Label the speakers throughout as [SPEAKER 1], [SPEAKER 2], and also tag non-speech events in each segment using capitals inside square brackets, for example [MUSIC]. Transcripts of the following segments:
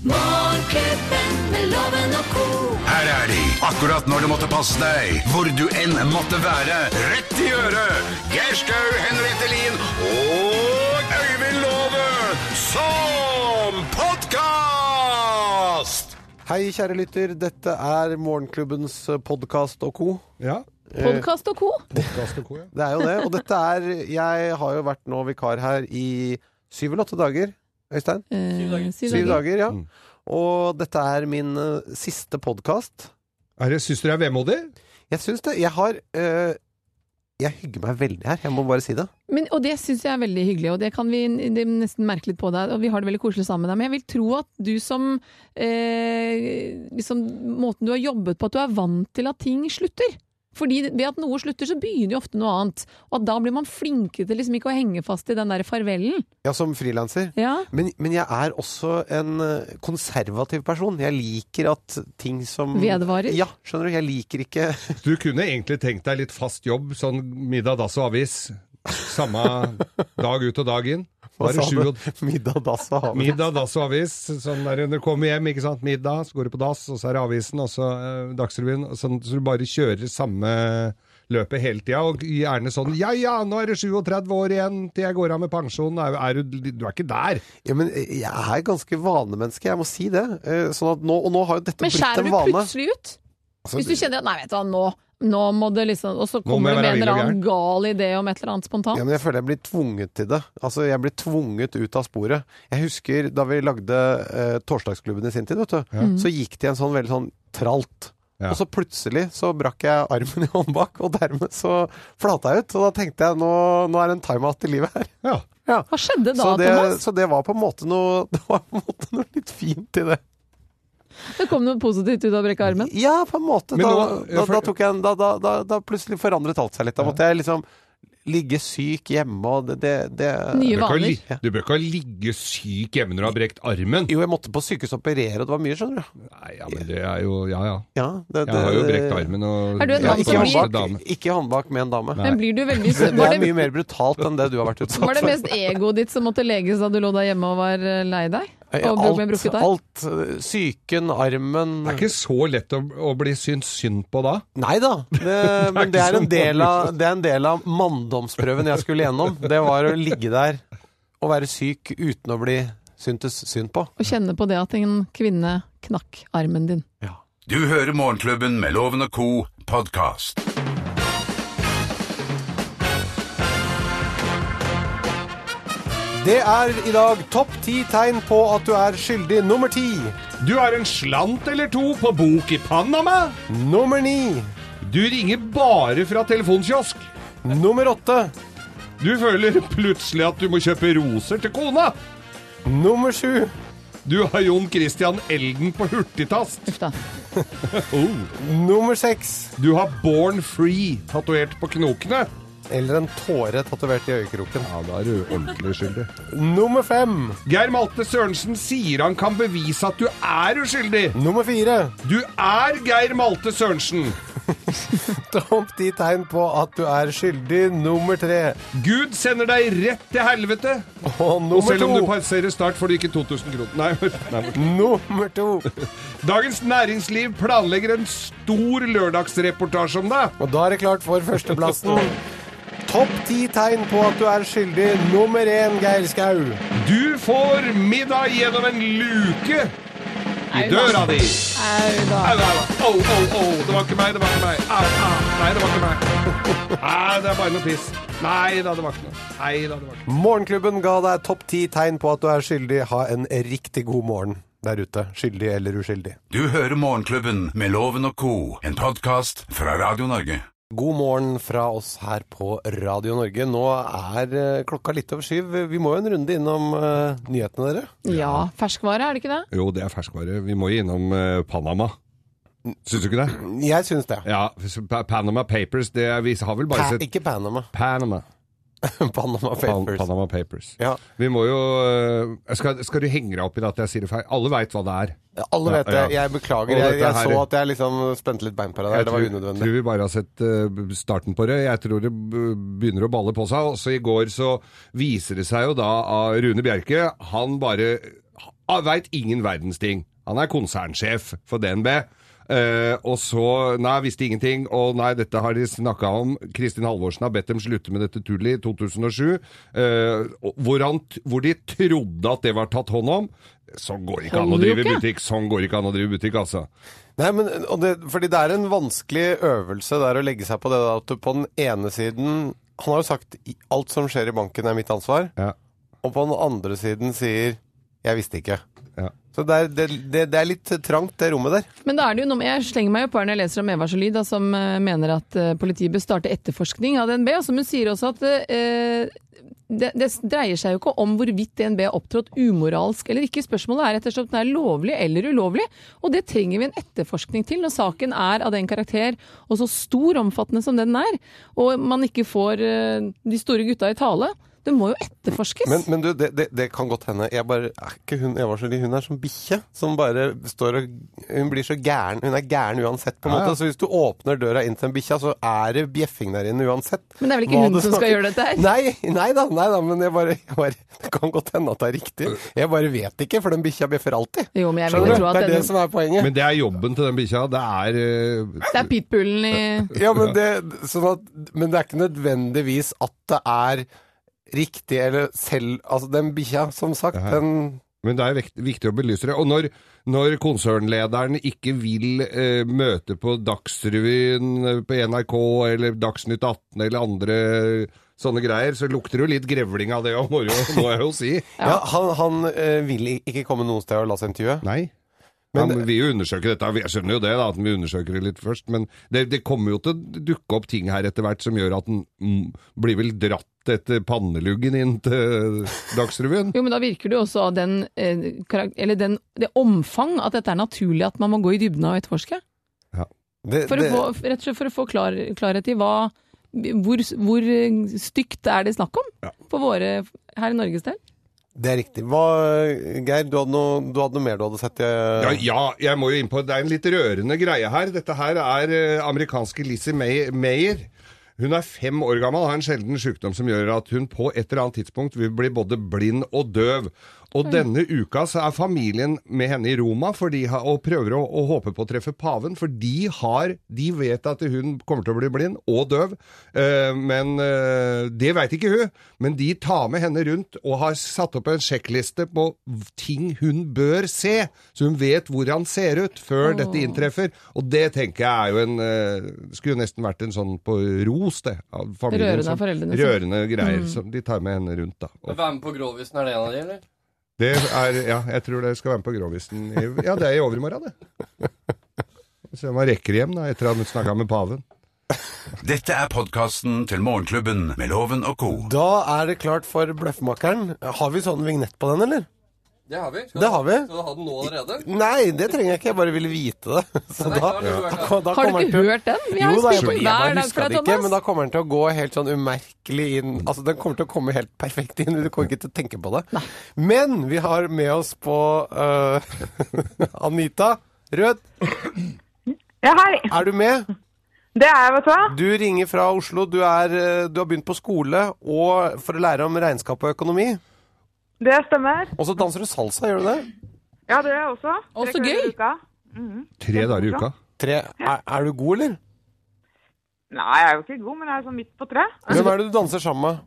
[SPEAKER 1] Morgenklubben med loven og ko.
[SPEAKER 2] Her er de, akkurat når du måtte passe deg, hvor du enn måtte være. Rett i øret! Geir Skau, Henriette Lien og Øyvind Låve som podkast!
[SPEAKER 3] Hei, kjære lytter. Dette er Morgenklubbens podkast og co.
[SPEAKER 4] Ja.
[SPEAKER 5] Podkast og co.
[SPEAKER 4] Podcast og co, ja.
[SPEAKER 3] Det er jo det. Og dette er Jeg har jo vært nå vikar her i syv eller åtte dager. Øystein?
[SPEAKER 5] Eh, Syv
[SPEAKER 3] Syv
[SPEAKER 5] dager.
[SPEAKER 3] dager, ja.
[SPEAKER 4] Mm.
[SPEAKER 3] Og dette er min eh, siste podkast.
[SPEAKER 4] Er det, syns du det er vemodig?
[SPEAKER 3] Jeg syns det. Jeg har eh, Jeg hygger meg veldig her. Jeg må bare si det.
[SPEAKER 5] Men, og det syns jeg er veldig hyggelig, og det kan vi det er nesten merke litt på deg. Og vi har det veldig koselig sammen med deg. Men jeg vil tro at du som eh, liksom, Måten du har jobbet på, at du er vant til at ting slutter. Fordi ved at noe slutter, så begynner jo ofte noe annet. Og at da blir man flinkere til liksom ikke å henge fast i den der farvelen.
[SPEAKER 3] Ja, som frilanser.
[SPEAKER 5] Ja.
[SPEAKER 3] Men, men jeg er også en eh, konservativ person. Jeg liker at ting som
[SPEAKER 5] Vedvarer.
[SPEAKER 3] Ja, skjønner du. Jeg liker ikke
[SPEAKER 4] Du kunne egentlig tenkt deg litt fast jobb, sånn middag, dass og avis. Samme dag ut og dag inn. Bare
[SPEAKER 3] [LAUGHS]
[SPEAKER 4] sju og
[SPEAKER 3] middag, dass og havet.
[SPEAKER 4] Middag, dass og avis. Sånn der når du kommer hjem, ikke sant. Middag, så går du på dass, og så er det avisen, og så eh, Dagsrevyen. og Sånn, så du bare kjører samme løpet hele tida, og gjerne sånn Ja ja, nå er det 37 år igjen til jeg går av med pensjon. Er, er du, du er ikke der.
[SPEAKER 3] Ja, men eh, jeg er ganske vanemenneske, jeg må si det. Eh, Sånn at nå, og nå har jo dette
[SPEAKER 5] Men
[SPEAKER 3] blitt
[SPEAKER 5] skjærer
[SPEAKER 3] en
[SPEAKER 5] du
[SPEAKER 3] vane. Altså,
[SPEAKER 5] plutselig ut? Hvis du kjenner at nei, vet du hva, nå, nå må det liksom Og så
[SPEAKER 4] må
[SPEAKER 5] kommer
[SPEAKER 4] jeg
[SPEAKER 5] du med
[SPEAKER 4] være
[SPEAKER 5] en
[SPEAKER 4] vill og
[SPEAKER 5] eller annen gal idé om et eller annet
[SPEAKER 3] Ja,
[SPEAKER 5] spontant.
[SPEAKER 3] men jeg føler jeg blir tvunget til det. Altså, jeg blir tvunget ut av sporet. Jeg husker da vi lagde eh, Torsdagsklubben i sin tid, vet du. Så gikk det i en sånn veldig sånn tralt.
[SPEAKER 4] Ja.
[SPEAKER 3] Og så plutselig så brakk jeg armen i håndbak, og dermed så flata jeg ut. Og da tenkte jeg nå, nå er det en timeout i livet her.
[SPEAKER 4] Ja.
[SPEAKER 3] Ja.
[SPEAKER 5] Hva skjedde da,
[SPEAKER 3] Så det,
[SPEAKER 5] Thomas?
[SPEAKER 3] så det var på en måte noe [LAUGHS] Det var på en måte noe litt fint i det.
[SPEAKER 5] Det kom noe positivt ut av å brekke armen?
[SPEAKER 3] Ja, på en måte.
[SPEAKER 4] Men
[SPEAKER 3] Da,
[SPEAKER 4] nå-
[SPEAKER 3] da,
[SPEAKER 4] ja, for-
[SPEAKER 3] da, tok jeg en, da, da, da, da plutselig forandret alt seg litt. Da måtte jeg liksom ligge syk hjemme og det, det, det
[SPEAKER 5] Nye
[SPEAKER 4] Du
[SPEAKER 5] vaner.
[SPEAKER 4] bør, ikke, ha li- du bør ikke ha ligge syk hjemme når du har brekt armen.
[SPEAKER 3] Jo, jeg måtte på sykehus og operere, og det var mye, skjønner du.
[SPEAKER 4] Nei, ja, men det er jo Ja, ja.
[SPEAKER 3] Ja, det,
[SPEAKER 4] Jeg har jo brekt armen og
[SPEAKER 5] Er du en
[SPEAKER 3] Ja,
[SPEAKER 5] mann
[SPEAKER 3] ikke
[SPEAKER 5] som
[SPEAKER 4] verste
[SPEAKER 5] blir-
[SPEAKER 4] dame.
[SPEAKER 3] håndbak, ikke håndbak med en dame.
[SPEAKER 4] Nei.
[SPEAKER 5] Men blir du veldig
[SPEAKER 3] Det, det
[SPEAKER 5] Var
[SPEAKER 3] er
[SPEAKER 5] det,
[SPEAKER 3] mye mer brutalt enn det du har vært utsatt
[SPEAKER 5] var det mest egoet ditt som måtte leges da du lå der hjemme og var eh, lei deg?
[SPEAKER 3] Ja,
[SPEAKER 5] Og bro- med
[SPEAKER 3] Alt,
[SPEAKER 5] brukket arm?
[SPEAKER 3] alt øh, Psyken, armen
[SPEAKER 4] Det er ikke så lett å, å bli syns synd på da.
[SPEAKER 3] Nei da,
[SPEAKER 4] [LAUGHS]
[SPEAKER 3] det, men det
[SPEAKER 4] ikke
[SPEAKER 3] er, en
[SPEAKER 4] så
[SPEAKER 3] del av, det er en del av manndomsprøven jeg skulle gjennom. Det var å ligge der og være syk uten å bli syntes synd på.
[SPEAKER 5] Og kjenne på det at en kvinne knakk armen din.
[SPEAKER 2] Du hører Morgenklubben med Loven og Co. podkast.
[SPEAKER 3] Det er i dag topp ti tegn på at du er skyldig. Nummer ti,
[SPEAKER 4] Du har en slant eller to på bok i Panama.
[SPEAKER 3] nummer ni,
[SPEAKER 4] Du ringer bare fra telefonkiosk.
[SPEAKER 3] nummer åtte,
[SPEAKER 4] Du føler plutselig at du må kjøpe roser til kona.
[SPEAKER 3] nummer sju,
[SPEAKER 4] Du har Jon Christian Elden på hurtigtast.
[SPEAKER 5] Uff da.
[SPEAKER 3] nummer seks
[SPEAKER 4] Du har Born Free tatovert på knokene.
[SPEAKER 3] Eller en tåre tatovert i øyekroken.
[SPEAKER 4] Ja, da er du ordentlig skyldig.
[SPEAKER 3] Nummer fem,
[SPEAKER 4] Geir Malte Sørensen sier han kan bevise at du er uskyldig.
[SPEAKER 3] nummer fire
[SPEAKER 4] Du er Geir Malte Sørensen.
[SPEAKER 3] Topp ti tegn på at du er skyldig. Nummer tre
[SPEAKER 4] Gud sender deg rett til helvete.
[SPEAKER 3] og
[SPEAKER 4] Og
[SPEAKER 3] nummer
[SPEAKER 4] selv om du
[SPEAKER 3] to.
[SPEAKER 4] passerer start, får du ikke 2000 kroner. Nei, [LAUGHS] nei.
[SPEAKER 3] Nummer to.
[SPEAKER 4] Dagens Næringsliv planlegger en stor lørdagsreportasje om deg.
[SPEAKER 3] Og da er det klart for førsteplassen. Topp ti tegn på at du er skyldig. Nummer én, Geir Skau.
[SPEAKER 4] Du får middag gjennom en luke i døra di.
[SPEAKER 5] Au da.
[SPEAKER 4] Au, au, au, au, au. Det var ikke meg, det var ikke meg. Au, au. Nei, det var ikke meg. [LAUGHS] Nei, det er bare noe piss. Nei da, det var ikke noe. Nei da, det var ikke noe.
[SPEAKER 3] Morgenklubben ga deg topp ti tegn på at du er skyldig. Ha en riktig god morgen der ute. Skyldig eller uskyldig.
[SPEAKER 2] Du hører Morgenklubben med Loven og Co., en podkast fra Radio Norge.
[SPEAKER 3] God morgen fra oss her på Radio Norge. Nå er eh, klokka litt over syv. Vi må jo en runde innom eh, nyhetene, dere.
[SPEAKER 5] Ja, ferskvare, er det ikke det?
[SPEAKER 4] Jo, det er ferskvare. Vi må jo innom eh, Panama. Syns du ikke det?
[SPEAKER 3] Jeg syns det.
[SPEAKER 4] Ja, Pa- Panama Papers. Det er, vi har vel bare
[SPEAKER 3] Pa
[SPEAKER 4] sett
[SPEAKER 3] ikke Panama. [LAUGHS]
[SPEAKER 4] Panama.
[SPEAKER 3] Panama
[SPEAKER 4] Pan-
[SPEAKER 3] Papers.
[SPEAKER 4] Panama Papers.
[SPEAKER 3] Ja,
[SPEAKER 4] Vi må jo øh, skal, skal du henge deg opp i det at jeg sier det feil? Alle veit hva det er.
[SPEAKER 3] alle vet det.
[SPEAKER 4] Ja, ja.
[SPEAKER 3] Jeg beklager.
[SPEAKER 4] Og
[SPEAKER 3] Jeg,
[SPEAKER 4] dette
[SPEAKER 3] jeg
[SPEAKER 4] her-
[SPEAKER 3] så at jeg liksom spente litt bein på deg der. Det var
[SPEAKER 4] tror,
[SPEAKER 3] unødvendig.
[SPEAKER 4] tror vi bare har sett øh, starten på det. Jeg tror det øh, begynner å balle på seg. Også i går så viser det seg jo da av Rune Bjerke Han bare ah, veit ingen verdens ting. Han er konsernsjef for DNB. Eh, og så Nei, visste ingenting. Og nei, dette har de snakka om. Kristin Halvorsen har bedt dem slutte med dette tullet i 2007. eh, og hvor, han, t- hvor de trodde at det var tatt hånd om. Sånn går ikke an å
[SPEAKER 5] Holder jo
[SPEAKER 4] drive
[SPEAKER 5] ikke.
[SPEAKER 4] butikk. Sånn går ikke an å drive butikk, altså.
[SPEAKER 3] Nei, men, og det, fordi det er en vanskelig øvelse der å legge seg på det da, at du på den ene siden Han har jo sagt "I- alt som skjer i banken er mitt ansvar,
[SPEAKER 4] Ja.
[SPEAKER 3] og på den andre siden sier jeg visste ikke.
[SPEAKER 4] Ja.
[SPEAKER 3] Så det er, det, det, det er litt trangt, det rommet der.
[SPEAKER 5] Men da er det jo noe med, jeg slenger meg jo på her når jeg leser om Eva Jolie, da, som eh, mener at eh, politiet bør starte etterforskning av DNB. Og som Altså, hun sier også at eh, det, det dreier seg jo ikke om hvorvidt DNB har opptrådt umoralsk eller ikke. Spørsmålet er rett og slett om den er lovlig eller ulovlig. Og det trenger vi en etterforskning til når saken er av den karakter og så stor omfattende som den er, og man ikke får eh, de store gutta i tale. Det må jo etterforskes.
[SPEAKER 3] Men, men du, det, det, det kan godt hende. Jeg bare, er ikke hun Eva Jolie? Hun er som bikkje som bare står og Hun blir så gæren. Hun er gæren uansett, på en
[SPEAKER 4] Ja, ja.
[SPEAKER 3] måte. Så hvis du åpner døra inn til en bikkja, så er det bjeffing der inne uansett.
[SPEAKER 5] Men det er vel ikke
[SPEAKER 3] Hva
[SPEAKER 5] hun
[SPEAKER 3] du
[SPEAKER 5] som skal
[SPEAKER 3] snakker-
[SPEAKER 5] gjøre dette her?
[SPEAKER 3] Nei, nei da, nei da, men jeg bare, jeg bare Det kan godt hende at det er riktig. Jeg bare vet ikke, for den bikkja bjeffer alltid.
[SPEAKER 5] Jo, men jeg vil
[SPEAKER 3] Skjønner
[SPEAKER 5] jo tro
[SPEAKER 3] du? Det
[SPEAKER 5] at
[SPEAKER 3] er det
[SPEAKER 5] den,
[SPEAKER 3] som er poenget.
[SPEAKER 4] Men det er jobben til den bikkja. Det er eh,
[SPEAKER 5] det er pitbullen i
[SPEAKER 3] ja, men, det, sånn at, men det er ikke nødvendigvis at det er riktig, eller selv Altså, den bikkja, som sagt, den
[SPEAKER 4] Men det er vekt, viktig å belyse det. Og når, når konsernlederen ikke vil eh, møte på Dagsrevyen eh, på NRK eller Dagsnytt 18 eller andre eh, sånne greier, så lukter det jo litt grevling av det òg, må, jo- må jeg jo si.
[SPEAKER 3] Ja, Han, han eh, vil i- ikke komme noen sted og la seg intervjue.
[SPEAKER 4] Nei.
[SPEAKER 3] Men-
[SPEAKER 4] han vil jo undersøke dette. Jeg skjønner jo det, da, at vi undersøker det litt først. Men det, det kommer jo til å dukke opp ting her etter hvert som gjør at den mm, blir vel dratt etter panneluggen inn til Dagsrevyen.
[SPEAKER 5] Jo, men da virker det jo også av den, eh, karak- eller den, det omfang at dette er naturlig at man må gå i dybden av og etterforske.
[SPEAKER 3] Det,
[SPEAKER 5] For,
[SPEAKER 3] det,
[SPEAKER 5] å få, rett og slett for å få klar, klarhet i hva, hvor, hvor eh, stygt er det snakk om for våre, her i Norges del.
[SPEAKER 3] det er riktig. Hva, Geir, du hadde, noe, du hadde noe mer du hadde sett? eh,
[SPEAKER 4] Ja, ja, jeg må jo inn på Det er en litt rørende greie her. Dette her er eh, amerikanske Lizzie May Mayer. Hun er fem år gammel og har en sjelden sykdom som gjør at hun på et eller annet tidspunkt vil bli både blind og døv. Og denne uka så er familien med henne i Roma for de har, og prøver å, å håpe på å treffe paven, for de, har, de vet at hun kommer til å bli blind og døv. Eh, men eh, det veit ikke hun. Men de tar med henne rundt og har satt opp en sjekkliste på ting hun bør se, så hun vet hvor han ser ut før dette inntreffer. Og det tenker jeg er jo en eh, Skulle jo nesten vært en sånn på ros, det. Av familien,
[SPEAKER 5] Rørende av foreldrene Mm. sine.
[SPEAKER 4] Rørende greier. som de tar med henne rundt, da.
[SPEAKER 6] Men
[SPEAKER 4] Og
[SPEAKER 6] Være med på Grovisen, er det en av de, eller?
[SPEAKER 4] det er Ja, jeg tror det skal være med på Grovisen i Ja, det er i overmorgen, det. [LAUGHS] Se om han rekker hjem, da, etter at han snakka med paven.
[SPEAKER 2] Dette er podkasten til Morgenklubben med Loven og co.
[SPEAKER 3] Da er det klart for Bløffmakeren. Har vi sånn vignett på den, eller?
[SPEAKER 6] Det har vi. Skal
[SPEAKER 3] Det
[SPEAKER 6] du-
[SPEAKER 3] har vi.
[SPEAKER 6] Skal du ha den nå allerede?
[SPEAKER 3] Nei, det trenger jeg ikke. Jeg bare ville vite det. [LAUGHS] Så
[SPEAKER 6] Nei,
[SPEAKER 3] da,
[SPEAKER 6] har du hørt det?
[SPEAKER 3] da, da
[SPEAKER 5] Har du ikke
[SPEAKER 3] kommer den til-
[SPEAKER 5] hørt den? Vi har jo
[SPEAKER 3] Jo da, jeg,
[SPEAKER 5] spilt den
[SPEAKER 3] jeg bare
[SPEAKER 5] hver dag
[SPEAKER 3] huska
[SPEAKER 5] for
[SPEAKER 3] det
[SPEAKER 5] deg,
[SPEAKER 3] ikke, men da
[SPEAKER 5] Thomas.
[SPEAKER 3] kommer den til å gå helt sånn umerkelig inn. Altså, Den kommer til å komme helt perfekt inn, du kommer ikke til å tenke på det. Men vi har med oss på øh, [LAUGHS] Anita Rød.
[SPEAKER 7] Ja, hei.
[SPEAKER 3] Er du med?
[SPEAKER 7] Det er jeg, vet du hva.
[SPEAKER 3] Du ringer fra Oslo. Du, er, eh, du har begynt på skole og for å lære om regnskap og økonomi.
[SPEAKER 7] Det stemmer.
[SPEAKER 3] Og så danser du salsa, gjør du det?
[SPEAKER 7] Ja, det gjør jeg også.
[SPEAKER 5] Å,
[SPEAKER 7] Tre
[SPEAKER 5] så
[SPEAKER 7] kvelder i
[SPEAKER 5] gøy.
[SPEAKER 7] uka.
[SPEAKER 4] Tre dager i uka.
[SPEAKER 3] Tre. Er, er du god, eller?
[SPEAKER 7] Nei, jeg er jo ikke god, men jeg er sånn midt på tre.
[SPEAKER 3] Hvem er det du danser sammen med?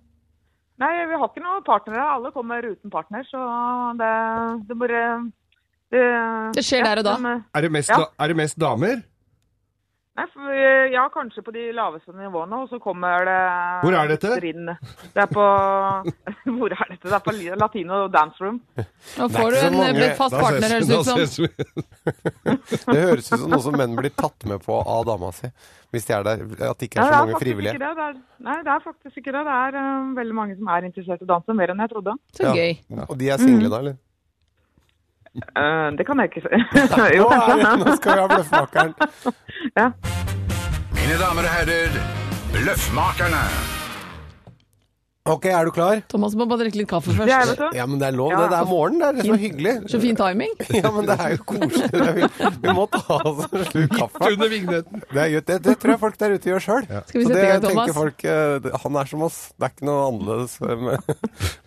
[SPEAKER 7] Nei, vi har ikke noen partnere. Alle kommer uten partner, så det, det bare det,
[SPEAKER 5] Det skjer der og da.
[SPEAKER 7] men-
[SPEAKER 4] Er det mest,
[SPEAKER 7] Ja.
[SPEAKER 4] da, er det mest damer?
[SPEAKER 7] Nei, for, eh, ja, kanskje på de laveste nivåene, og så kommer det
[SPEAKER 4] Hvor er dette?
[SPEAKER 7] Inn. Det er på [LAUGHS] Hvor er dette? Det er på li- Latino dance room.
[SPEAKER 5] Nå får du
[SPEAKER 3] så
[SPEAKER 5] en
[SPEAKER 3] mange-
[SPEAKER 5] eh, fast
[SPEAKER 4] Da ses-
[SPEAKER 5] partner, høres det ut
[SPEAKER 4] [LAUGHS] da
[SPEAKER 5] som.
[SPEAKER 4] ses vi.
[SPEAKER 3] Det høres ut som noe som menn blir tatt med på av dama si. Hvis de er der. At det ikke er så mange
[SPEAKER 7] Nei, det er faktisk ikke
[SPEAKER 3] frivillige.
[SPEAKER 7] det. Det er, nei, det er faktisk ikke det. Det er eh, veldig mange som er interessert i dansen, mer enn jeg trodde.
[SPEAKER 5] Så
[SPEAKER 3] Ja.
[SPEAKER 5] gøy.
[SPEAKER 3] Og de er single da, eller?
[SPEAKER 7] Mm. Eh, det kan jeg ikke si. [LAUGHS] jo,
[SPEAKER 3] Nå, er, det- nå skal vi ha Bløffmakeren.
[SPEAKER 7] ja.
[SPEAKER 2] Mine damer og herrer, Løffmakerne.
[SPEAKER 3] Ok, er du klar?
[SPEAKER 5] Thomas må bare drikke litt kaffe
[SPEAKER 7] Det er
[SPEAKER 5] først.
[SPEAKER 7] vet du.
[SPEAKER 3] Ja, men det er lov,
[SPEAKER 7] Ja.
[SPEAKER 3] det. Det er morgen, det er det som er hyggelig.
[SPEAKER 5] Så fin timing.
[SPEAKER 3] Ja, men det er jo koselig. Det er jo- Vi må ta oss en slurk kaffe.
[SPEAKER 4] Under vignetten.
[SPEAKER 3] Det, er, jo- det, det tror jeg folk der ute gjør sjøl.
[SPEAKER 5] Skal vi sette i gang,
[SPEAKER 3] det tenker
[SPEAKER 5] Thomas?
[SPEAKER 3] [LAUGHS] folk eh, det- Han er som oss. Det er ikke noe annerledes. eh, Men,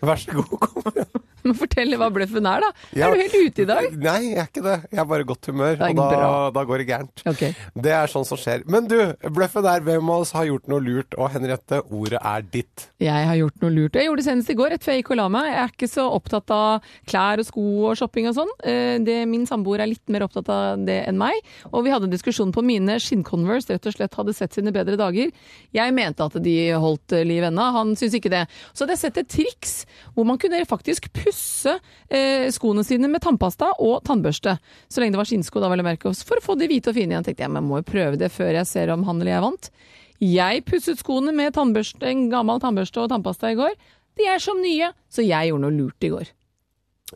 [SPEAKER 3] vær så god, kom igjen.
[SPEAKER 5] må fortelle hva bløffen er, da.
[SPEAKER 3] Ja.
[SPEAKER 5] [LAUGHS] Er du helt ute i dag?
[SPEAKER 3] Nei, jeg er ikke det. Jeg er bare i godt humør,
[SPEAKER 5] Nei,
[SPEAKER 3] og da,
[SPEAKER 5] bra.
[SPEAKER 3] da går det gærent.
[SPEAKER 5] Ok.
[SPEAKER 3] Det er sånn som skjer. Men du, bløffen er hvem av oss har gjort noe lurt, og Henriette, ordet er ditt.
[SPEAKER 5] Jeg har gjort noe lurt. Jeg gjorde det senest i går, rett før jeg gikk og la meg. Jeg er ikke så opptatt av klær og sko og shopping og sånn. Eh, det- Min samboer er litt mer opptatt av det enn meg. Og vi hadde en diskusjon på mine skinnconverse rett og slett hadde sett sine bedre dager. Jeg mente at de holdt eh, liv ennå, han syns ikke det. Så hadde jeg sett et triks hvor man kunne faktisk pusse eh, skoene sine med tannpasta og tannbørste. Så lenge det var skinnsko, da vel å merke. For å få de hvite og fine igjen, tenkte jeg, men jeg må jo prøve det før jeg ser om han eller jeg vant. Jeg pusset skoene med tannbørste, en gammel tannbørste og tannpasta i går. De er som nye, så jeg gjorde noe lurt i går.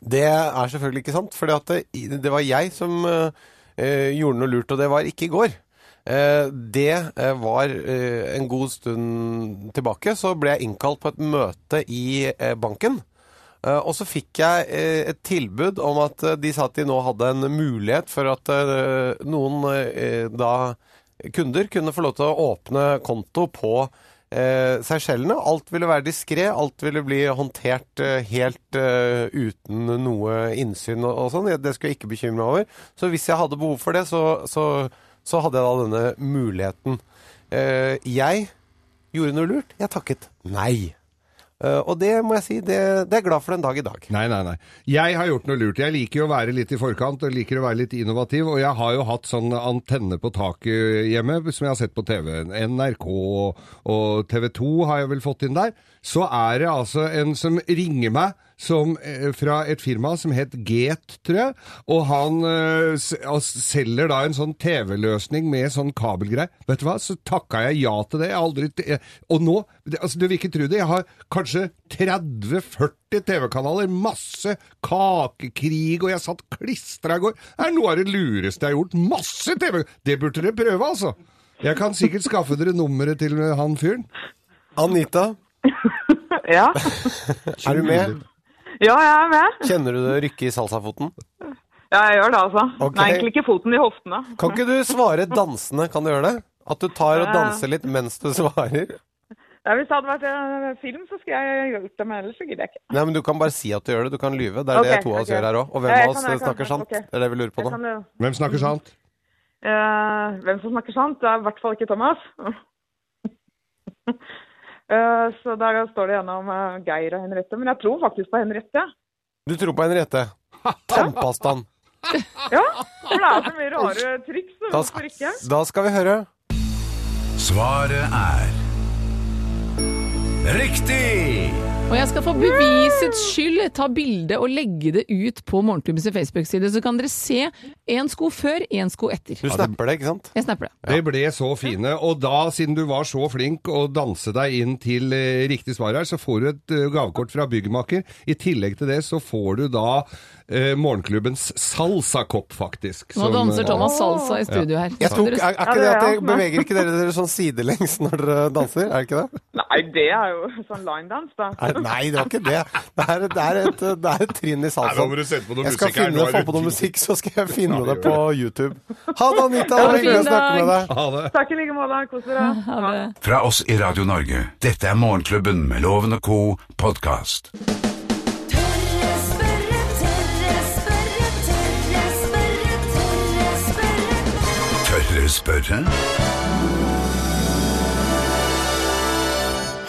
[SPEAKER 3] Det er selvfølgelig ikke sant, for det, det var jeg som eh, eh, gjorde noe lurt, og det var ikke i går. Eh, det eh, var eh, en god stund tilbake, så ble jeg innkalt på et møte i eh, banken. Eh, og så fikk jeg eh, et tilbud om at eh, de sa at de nå hadde en mulighet for at eh, noen eh, da kunder kunne få lov til å åpne konto på eh, Seychellene. Alt ville være diskré, alt ville bli håndtert eh, helt eh, uten noe innsyn og, og sånn. Jeg- Det skulle jeg ikke bekymre meg over. Så hvis jeg hadde behov for det, så, så, så hadde jeg da denne muligheten. Eh, jeg gjorde noe lurt. Jeg takket nei. Eh, og det må jeg si, det, det er jeg glad for den dag i dag.
[SPEAKER 4] Nei, nei, nei. Jeg har gjort noe lurt. Jeg liker jo å være litt i forkant og liker å være litt innovativ. Og jeg har jo hatt sånn antenne på taket hjemme som jeg har sett på TV. NRK og, og TV 2 har jeg vel fått inn der. Så er det altså en som ringer meg som, eh, fra et firma som het Get, tror jeg. Og han eh, s- og selger da en sånn TV-løsning med sånn kabelgreie. Vet du hva, så takka jeg ja til det. Jeg har aldri t- jeg- Og nå det, altså, Du vil ikke tro det, jeg har kanskje 30-40 TV-kanaler, masse kakekrig, og jeg satt klistra i går. Det er noe av det lureste jeg har gjort. Masse TV! Det burde dere prøve, altså. Jeg kan sikkert skaffe dere nummeret til han fyren.
[SPEAKER 3] Anita,
[SPEAKER 7] Ja.
[SPEAKER 3] er du med?
[SPEAKER 7] ja, jeg er med.
[SPEAKER 3] Kjenner du det rykke i salsafoten?
[SPEAKER 7] Ja, jeg gjør det, altså.
[SPEAKER 3] Ok.
[SPEAKER 7] Nei, egentlig ikke foten i hoftene.
[SPEAKER 3] Kan ikke du svare dansende? Kan du gjøre det? At du tar og danser litt mens du svarer?
[SPEAKER 7] Ja, hvis det hadde vært eh, film, så skulle jeg gjort det, men ellers så gidder jeg ikke.
[SPEAKER 3] Nei, men Du kan bare si at du gjør det. Du kan lyve. Det er det
[SPEAKER 7] Ok,
[SPEAKER 3] to av oss
[SPEAKER 7] ok.
[SPEAKER 3] gjør her òg. Og
[SPEAKER 7] Ja,
[SPEAKER 3] hvem av
[SPEAKER 7] jeg
[SPEAKER 3] oss
[SPEAKER 7] kan- jeg kan-
[SPEAKER 3] snakker sant?
[SPEAKER 7] ok.
[SPEAKER 3] Det er det vi lurer på
[SPEAKER 7] Jeg
[SPEAKER 3] nå.
[SPEAKER 7] kan, jo-
[SPEAKER 4] Hvem snakker sant?
[SPEAKER 7] Eh, hvem som snakker sant, det er i hvert fall ikke Thomas. [LAUGHS] Eh, så der står det gjennom eh, Geir og Henriette, men jeg tror faktisk på Henriette.
[SPEAKER 3] Du tror på Henriette? Tannpastaen.
[SPEAKER 7] Ja, for det er så mye rare triks, så
[SPEAKER 3] Da,
[SPEAKER 7] hvorfor ikke?
[SPEAKER 3] sk- da skal vi høre.
[SPEAKER 2] Svaret er Riktig!
[SPEAKER 5] Og jeg skal for bevisets skyld ta bilde og legge det ut på Morgenklubbens Facebook-side, så kan dere se én sko før, én sko etter.
[SPEAKER 3] Du snapper det, ikke sant?
[SPEAKER 5] Jeg snapper det.
[SPEAKER 4] Det ble så fine. Og da, siden du var så flink å danse deg inn til eh, riktig svar her, så får du et eh, gavekort fra byggmaker. I tillegg til det så får du da eh, morgenklubbens salsakopp, faktisk.
[SPEAKER 5] Nå
[SPEAKER 4] som,
[SPEAKER 5] danser
[SPEAKER 4] eh,
[SPEAKER 5] Thomas salsa i studio her.
[SPEAKER 3] Jeg tok, er, er
[SPEAKER 7] Ja,
[SPEAKER 3] ikke
[SPEAKER 7] det
[SPEAKER 3] det
[SPEAKER 7] er
[SPEAKER 3] at
[SPEAKER 7] jeg.
[SPEAKER 3] det, Beveger ikke dere dere sånn sidelengs når dere danser? Er det ikke det?
[SPEAKER 7] Nei, det er jo sånn linedance, da.
[SPEAKER 3] Er, nei, det var ikke det. Det er, det er, et, det er et trinn i
[SPEAKER 4] Nei, nå
[SPEAKER 3] salsaen.
[SPEAKER 4] må du sette på noe
[SPEAKER 3] Jeg skal
[SPEAKER 4] musikk her,
[SPEAKER 3] finne,
[SPEAKER 4] nå er
[SPEAKER 3] få
[SPEAKER 4] det
[SPEAKER 3] på noe
[SPEAKER 4] tid.
[SPEAKER 3] musikk, så skal jeg finne det på YouTube. Ha det, Anita. Det var
[SPEAKER 5] en
[SPEAKER 3] hyggelig å
[SPEAKER 5] fin
[SPEAKER 3] snakke med
[SPEAKER 5] dag.
[SPEAKER 3] deg.
[SPEAKER 4] [LAUGHS] Ha det.
[SPEAKER 7] Takk i like måte. Kos dere.
[SPEAKER 5] Ha
[SPEAKER 3] [LAUGHS]
[SPEAKER 5] det.
[SPEAKER 2] Fra oss i Radio Norge. Dette er Morgenklubben med Loven og Co. podkast.
[SPEAKER 1] Tørre spørre, tørre spørre, tørre spørre, tørre spørre.
[SPEAKER 2] Tør dere spørre?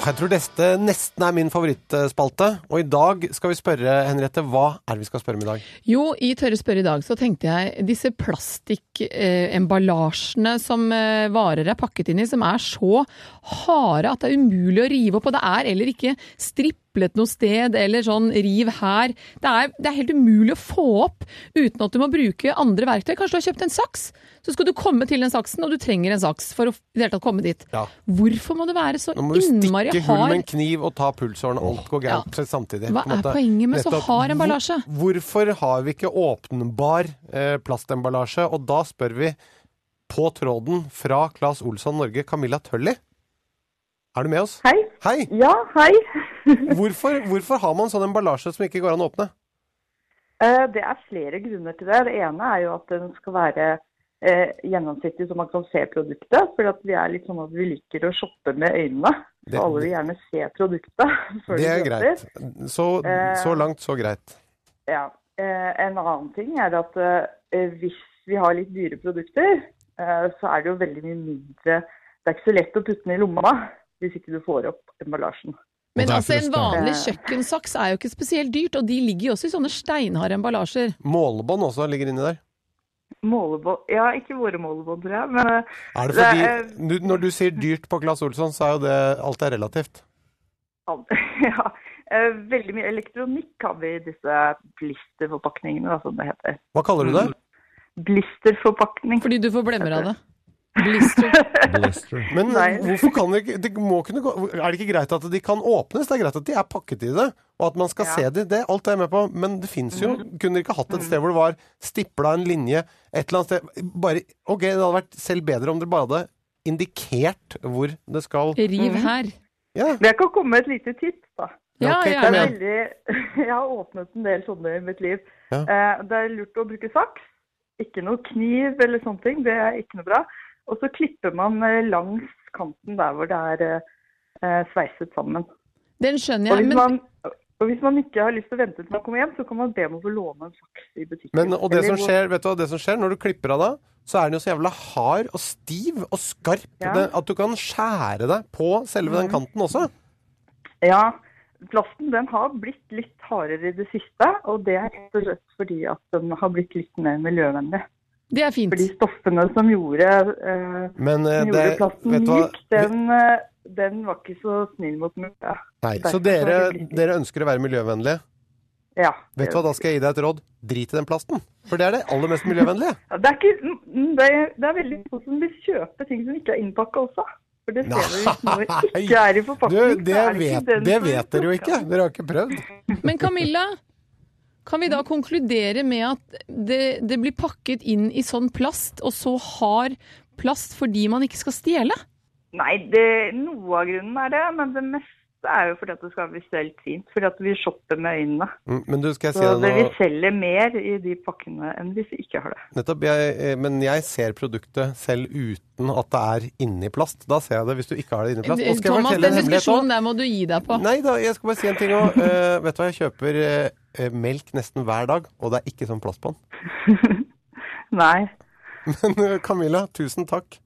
[SPEAKER 3] Jeg tror dette nesten er min favorittspalte. Og i dag skal vi spørre, Henriette, hva er det vi skal spørre om i dag?
[SPEAKER 5] Jo, i Tørre spør i dag så tenkte jeg disse plastikk-emballasjene som eh, varer er pakket inn i, som er så harde at det er umulig å rive opp. Og det er heller ikke striplet noe sted eller sånn riv her. Det er, det er helt umulig å få opp uten at du må bruke andre verktøy. Kanskje du har kjøpt en saks, så skal du komme til den saksen, og du trenger en saks for å i det hele tatt komme dit.
[SPEAKER 3] Ja.
[SPEAKER 5] Hvorfor må det være så
[SPEAKER 3] Nå må du
[SPEAKER 5] innmari
[SPEAKER 3] stikke hull med en
[SPEAKER 5] hard
[SPEAKER 3] kniv og ta pulsårene. Alt går gærent samtidig.
[SPEAKER 5] Hva
[SPEAKER 3] på en
[SPEAKER 5] er
[SPEAKER 3] måte.
[SPEAKER 5] poenget med så
[SPEAKER 3] Nettopp.
[SPEAKER 5] hard emballasje?
[SPEAKER 3] Hvor- Hvorfor har vi ikke åpenbar eh, plastemballasje? Og da spør vi på tråden fra Claes Olsson Norge, Camilla Tølli. Er du med oss?
[SPEAKER 7] Hei.
[SPEAKER 3] Hei!
[SPEAKER 7] Ja, hei.
[SPEAKER 3] Hvorfor, hvorfor har man sånn emballasje som ikke går an å åpne?
[SPEAKER 7] Eh, Det er flere grunner til det. Det ene er jo at den skal være eh, gjennomsiktig så man kan se produktet. For at vi er litt sånn at vi liker å shoppe med øynene.
[SPEAKER 3] Det-
[SPEAKER 8] alle vil gjerne se produktet [LAUGHS] før
[SPEAKER 3] Det
[SPEAKER 8] Eh. de
[SPEAKER 3] er
[SPEAKER 8] kjøper.
[SPEAKER 3] greit. Så, så langt, så greit.
[SPEAKER 8] Ja. Eh, en annen ting er at eh, hvis vi har litt dyre produkter, eh, så er det jo veldig mye mindre Det er ikke så lett å putte den i lomma da, hvis ikke du får opp emballasjen.
[SPEAKER 5] Men
[SPEAKER 4] Og
[SPEAKER 5] altså, en
[SPEAKER 4] derfor det står-
[SPEAKER 5] vanlig kjøkkensaks er jo ikke spesielt dyrt, og de ligger jo også i sånne steinharde emballasjer.
[SPEAKER 3] Målebånd også ligger inni der.
[SPEAKER 8] Målebånd Ja, ikke våre målebånd, tror jeg, men eh,
[SPEAKER 3] Er det
[SPEAKER 8] Det
[SPEAKER 3] fordi,
[SPEAKER 8] er-
[SPEAKER 3] nu- Når du sier dyrt på Claes Olsson, så er jo det alt er relativt.
[SPEAKER 8] an- [LAUGHS] ja, eh, veldig mye elektronikk har vi i disse blisterforpakningene, da, som det heter.
[SPEAKER 3] Hva kaller du det?
[SPEAKER 8] Blisterforpakning.
[SPEAKER 5] Fordi du får blemmer av det. Blister.
[SPEAKER 4] Blister.
[SPEAKER 3] Men
[SPEAKER 8] Nei.
[SPEAKER 3] hvorfor kan det ikke det må kunne, gå- Er det ikke greit at de kan åpnes? Det er greit at de er pakket i det, og at man skal
[SPEAKER 8] Ja. Mm.
[SPEAKER 3] se de. Det, alt er jeg med på. Men det fins jo Kunne dere ikke hatt et sted hvor det var stipla en linje et eller annet sted? Bare, ok, Det hadde vært selv bedre om dere bare hadde indikert hvor det skal
[SPEAKER 5] Riv her.
[SPEAKER 3] Ja,
[SPEAKER 8] Men jeg kan komme med et lite tips, da.
[SPEAKER 5] Ja,
[SPEAKER 3] Ok,
[SPEAKER 5] ja.
[SPEAKER 3] kom
[SPEAKER 8] Det
[SPEAKER 3] igjen.
[SPEAKER 8] er veldig, [LAUGHS] jeg har åpnet en del sånne i mitt liv.
[SPEAKER 3] Ja.
[SPEAKER 8] Eh, Det er lurt å bruke saks. Ikke noe kniv eller sånne ting. Det er ikke noe bra. Og så klipper man eh, langs kanten der hvor det er eh, eh, sveiset sammen.
[SPEAKER 5] Den skjønner
[SPEAKER 8] Og
[SPEAKER 5] jeg,
[SPEAKER 8] hvis,
[SPEAKER 5] men
[SPEAKER 8] man, og hvis man ikke har lyst til å vente til man kommer hjem, så kan man be om å få låne en saks i butikken.
[SPEAKER 3] Men, og det som
[SPEAKER 8] Eller hvor-
[SPEAKER 3] skjer, vet du hva det som skjer når du klipper av deg, så er den jo så jævla hard og stiv og skarp
[SPEAKER 8] Ja. Mm.
[SPEAKER 3] det, at du kan skjære deg på selve den kanten også.
[SPEAKER 8] Ja, plasten den har blitt litt hardere i det siste. Og det er rett og slett fordi at den har blitt litt mer miljøvennlig.
[SPEAKER 5] det er fint.
[SPEAKER 8] For de stoffene som gjorde eh,
[SPEAKER 3] Men eh,
[SPEAKER 8] Som
[SPEAKER 3] det
[SPEAKER 8] gjorde plasten
[SPEAKER 3] vet du hva?
[SPEAKER 8] myk, den, eh, den var ikke så snill mot miljøet.
[SPEAKER 3] Nei, så
[SPEAKER 8] Derfor
[SPEAKER 3] dere,
[SPEAKER 8] er det litt-
[SPEAKER 3] dere ønsker å være miljøvennlige.
[SPEAKER 8] Ja.
[SPEAKER 3] Vet du hva, da skal jeg gi deg et råd. Drit i den plasten. For det er det aller mest
[SPEAKER 8] [LAUGHS]
[SPEAKER 3] miljøvennlige.
[SPEAKER 8] Ja, Det er, ikke, mm, det, er, det er veldig få som vil kjøpe ting som ikke er innpakka også. For det ser vi hvis noe ikke er i
[SPEAKER 3] Du,
[SPEAKER 8] forpakning. så
[SPEAKER 3] det
[SPEAKER 8] er ikke
[SPEAKER 3] vet,
[SPEAKER 8] den
[SPEAKER 3] det
[SPEAKER 8] som
[SPEAKER 3] vet dere jo
[SPEAKER 8] plukker.
[SPEAKER 3] ikke. Dere har ikke prøvd.
[SPEAKER 5] Men Camilla, kan vi da konkludere med at det, det blir pakket inn i sånn plast, og så hard plast fordi man ikke skal stjele?
[SPEAKER 8] Nei, det, noe av grunnen er det, men det meste er jo fordi at det skal være visuelt fint. Fordi at vi shopper med øynene.
[SPEAKER 3] Mm, Men du, skal jeg si
[SPEAKER 8] Så det,
[SPEAKER 3] deg
[SPEAKER 8] vi
[SPEAKER 3] noe?
[SPEAKER 8] selger mer i de pakkene enn hvis vi ikke har det.
[SPEAKER 3] Nettopp, jeg, eh, men jeg ser produktet selv uten at det er inni plast. Da ser jeg det, hvis du ikke har det inni plast. Nå skal jeg
[SPEAKER 5] Thomas,
[SPEAKER 3] fortelle en
[SPEAKER 5] den
[SPEAKER 3] hemmelighet også.
[SPEAKER 5] diskusjonen der må du gi deg på.
[SPEAKER 3] Nei da, jeg skal bare si en ting òg. vet du hva, jeg kjøper eh, eh, melk nesten hver dag, og det er ikke sånn plast på den.
[SPEAKER 8] Nei.
[SPEAKER 3] Men eh, [LAUGHS] Camilla, tusen takk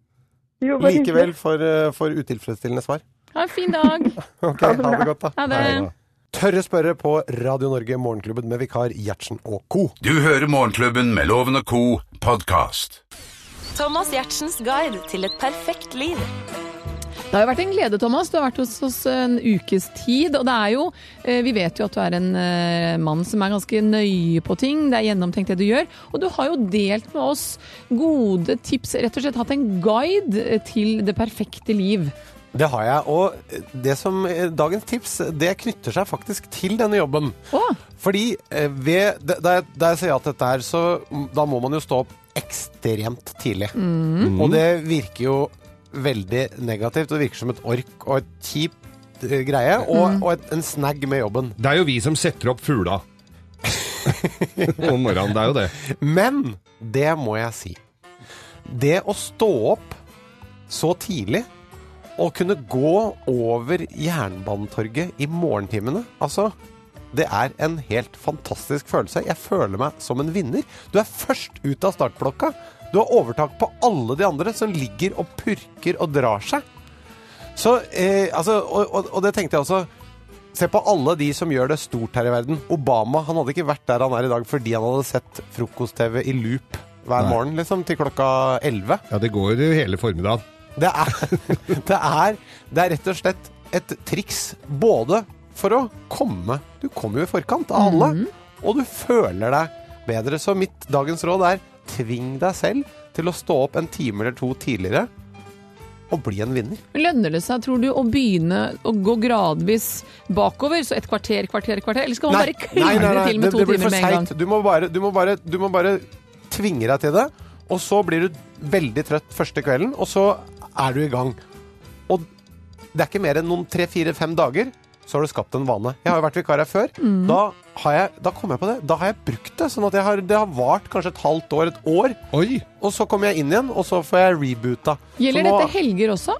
[SPEAKER 8] Jo, bare
[SPEAKER 3] likevel for, eh, for utilfredsstillende svar.
[SPEAKER 5] Ha en fin dag.
[SPEAKER 3] Ok, ha det godt, da.
[SPEAKER 5] Ha det.
[SPEAKER 3] Hei, da. Tørre spørre på Radio Norge Morgenklubben med vikar Gjertsen og co.
[SPEAKER 2] Du hører Morgenklubben med Loven og Co. podkast.
[SPEAKER 1] Thomas Gjertsens guide til et perfekt liv.
[SPEAKER 5] Det har jo vært en glede, Thomas. Du har vært hos oss en ukes tid. Og det er jo eh, Vi vet jo at du er en eh, mann som er ganske nøye på ting. Det er gjennomtenkt det du gjør. Og du har jo delt med oss gode tips. Rett og slett hatt en guide eh, til det perfekte liv.
[SPEAKER 3] Det har jeg. Og eh, det som, eh, dagens tips det knytter seg faktisk til denne jobben.
[SPEAKER 5] Å,
[SPEAKER 3] Fordi eh, ved, da- da, jeg- da jeg sier ja til dette her, så mm, da må man jo stå opp ekstremt tidlig. Og det virker jo veldig negativt. Det virker som et ork og et kjipt eh, greie, og, og et, en snag med jobben.
[SPEAKER 4] Det er jo vi som setter opp fugla. [LAUGHS] Om morgenen, det er jo det.
[SPEAKER 3] Men det må jeg si. Det å stå opp så tidlig og kunne gå over Jernbanetorget i morgentimene, altså det er en helt fantastisk følelse. Jeg føler meg som en vinner. Du er først ut av startblokka. Du har overtak på alle de andre som ligger og purker og drar seg. Så, eh, altså, og, og, og det tenkte jeg også. Se på alle de som gjør det stort her i verden. Obama han hadde ikke vært der han er i dag fordi han hadde sett frokost-TV i loop hver
[SPEAKER 4] Nei.
[SPEAKER 3] morgen liksom, til klokka 11.
[SPEAKER 4] Ja, det går jo hele formiddagen.
[SPEAKER 3] Det er, [LAUGHS] det, er, det er rett og slett et triks både for å komme Du kommer jo i forkant av alle, og du føler deg bedre. Så mitt dagens råd er tving deg selv til å stå opp en time eller to tidligere og bli en vinner.
[SPEAKER 5] lønner det seg, tror du, å begynne å gå gradvis bakover? Så et kvarter, kvarter, kvarter? Eller skal man bare
[SPEAKER 3] nei, nei,
[SPEAKER 5] kline
[SPEAKER 3] nei,
[SPEAKER 5] til med
[SPEAKER 3] det,
[SPEAKER 5] to
[SPEAKER 3] det blir
[SPEAKER 5] timer
[SPEAKER 3] for
[SPEAKER 5] med en gang?
[SPEAKER 3] seigt. Du, må bare- du, må bare- du må bare tvinge deg til det, og så blir du veldig trøtt første kvelden, og så er du i gang. Og det er ikke mer enn noen tre-fire-fem dager, så har du skapt en vane. Jeg har jo vært vikar her før.
[SPEAKER 5] Mm.
[SPEAKER 3] Da, har jeg, da kom jeg på det. Da har jeg brukt det. Sånn at jeg har, det har vart kanskje et halvt år, et år,
[SPEAKER 4] Oi!
[SPEAKER 3] og så kommer jeg inn igjen, og så får jeg reboota. Så
[SPEAKER 5] Gjelder
[SPEAKER 3] nå-
[SPEAKER 5] dette helger også?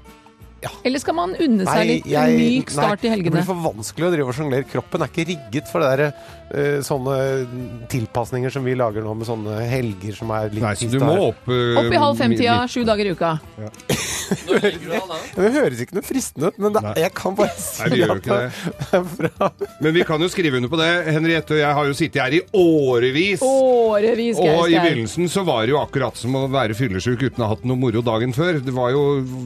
[SPEAKER 5] Eller skal man unne seg litt myk start i
[SPEAKER 3] Det
[SPEAKER 5] helgene?
[SPEAKER 3] blir for vanskelig å drive og sjonglere. Kroppen er ikke rigget for det der, eh, sånne mm, tilpasninger som vi lager nå med sånne helger som er litt
[SPEAKER 4] Nei, så
[SPEAKER 3] trist
[SPEAKER 4] du
[SPEAKER 3] og
[SPEAKER 4] må
[SPEAKER 3] her.
[SPEAKER 4] opp eh,
[SPEAKER 5] Opp i halv fem-tida,
[SPEAKER 4] midt-
[SPEAKER 5] sju dager i uka.
[SPEAKER 6] Når ligger du an da?
[SPEAKER 3] Det høres ikke noe fristende ut, men det,
[SPEAKER 4] Nei.
[SPEAKER 3] jeg kan bare si
[SPEAKER 4] Nei, det gjør jo ikke
[SPEAKER 3] at det er bra.
[SPEAKER 4] Men vi kan jo skrive under på det. Henriette og jeg har jo sittet her i årevis.
[SPEAKER 5] Årevis,
[SPEAKER 4] Og i
[SPEAKER 5] Geir Skau.
[SPEAKER 4] begynnelsen så var det jo akkurat som å være fyllesyk uten å ha hatt noe moro dagen før. Det var jo,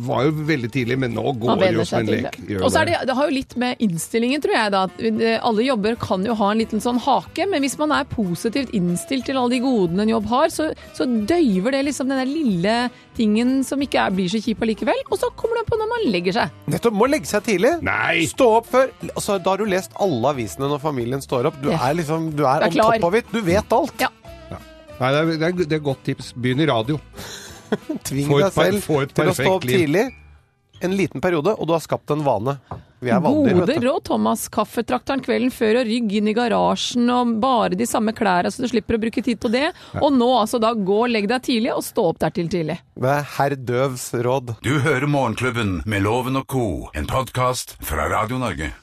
[SPEAKER 4] var jo veldig tidlig, men nå
[SPEAKER 5] Man
[SPEAKER 4] går det
[SPEAKER 5] venner
[SPEAKER 4] jo som
[SPEAKER 5] seg
[SPEAKER 4] en
[SPEAKER 5] til
[SPEAKER 4] lek.
[SPEAKER 5] det.
[SPEAKER 4] Gjør
[SPEAKER 5] Og så er det, det har jo litt med innstillingen, tror jeg. da. at vi- det- Alle jobber kan jo ha en liten sånn hake, men hvis man er positivt innstilt til alle de godene en jobb har, så, så døyver det liksom den der lille tingen som ikke er, blir så kjip allikevel. Og så kommer det på når man legger seg.
[SPEAKER 3] Nettopp. Må legge seg tidlig.
[SPEAKER 4] Nei.
[SPEAKER 3] Stå opp før. Altså, da har du lest alle avisene når familien står opp. Du
[SPEAKER 5] Ja.
[SPEAKER 3] er liksom Du er
[SPEAKER 5] Du er
[SPEAKER 3] on
[SPEAKER 5] klar.
[SPEAKER 3] top of it. Du vet alt.
[SPEAKER 5] Ja.
[SPEAKER 4] Nei, det er, det er- det er godt tips. Begynn i radio.
[SPEAKER 3] Tving
[SPEAKER 4] Få et
[SPEAKER 3] deg
[SPEAKER 4] per-
[SPEAKER 3] selv
[SPEAKER 4] få et
[SPEAKER 3] til å stå
[SPEAKER 4] perfekt
[SPEAKER 3] opp
[SPEAKER 4] liv.
[SPEAKER 3] tidlig en liten periode, og du har skapt en vane. Vi er vanlige,
[SPEAKER 5] Gode
[SPEAKER 3] vet du.
[SPEAKER 5] råd, Thomas. Kaffetrakteren kvelden før og rygg inn i garasjen og bare de samme klærne, så du slipper å bruke tid på det. Og nå altså, da gå og legg deg tidlig, og stå opp der til tidlig.
[SPEAKER 3] Det er herr Døvs råd.
[SPEAKER 2] Du hører Morgenklubben med Loven og Co., en podkast fra Radio Norge.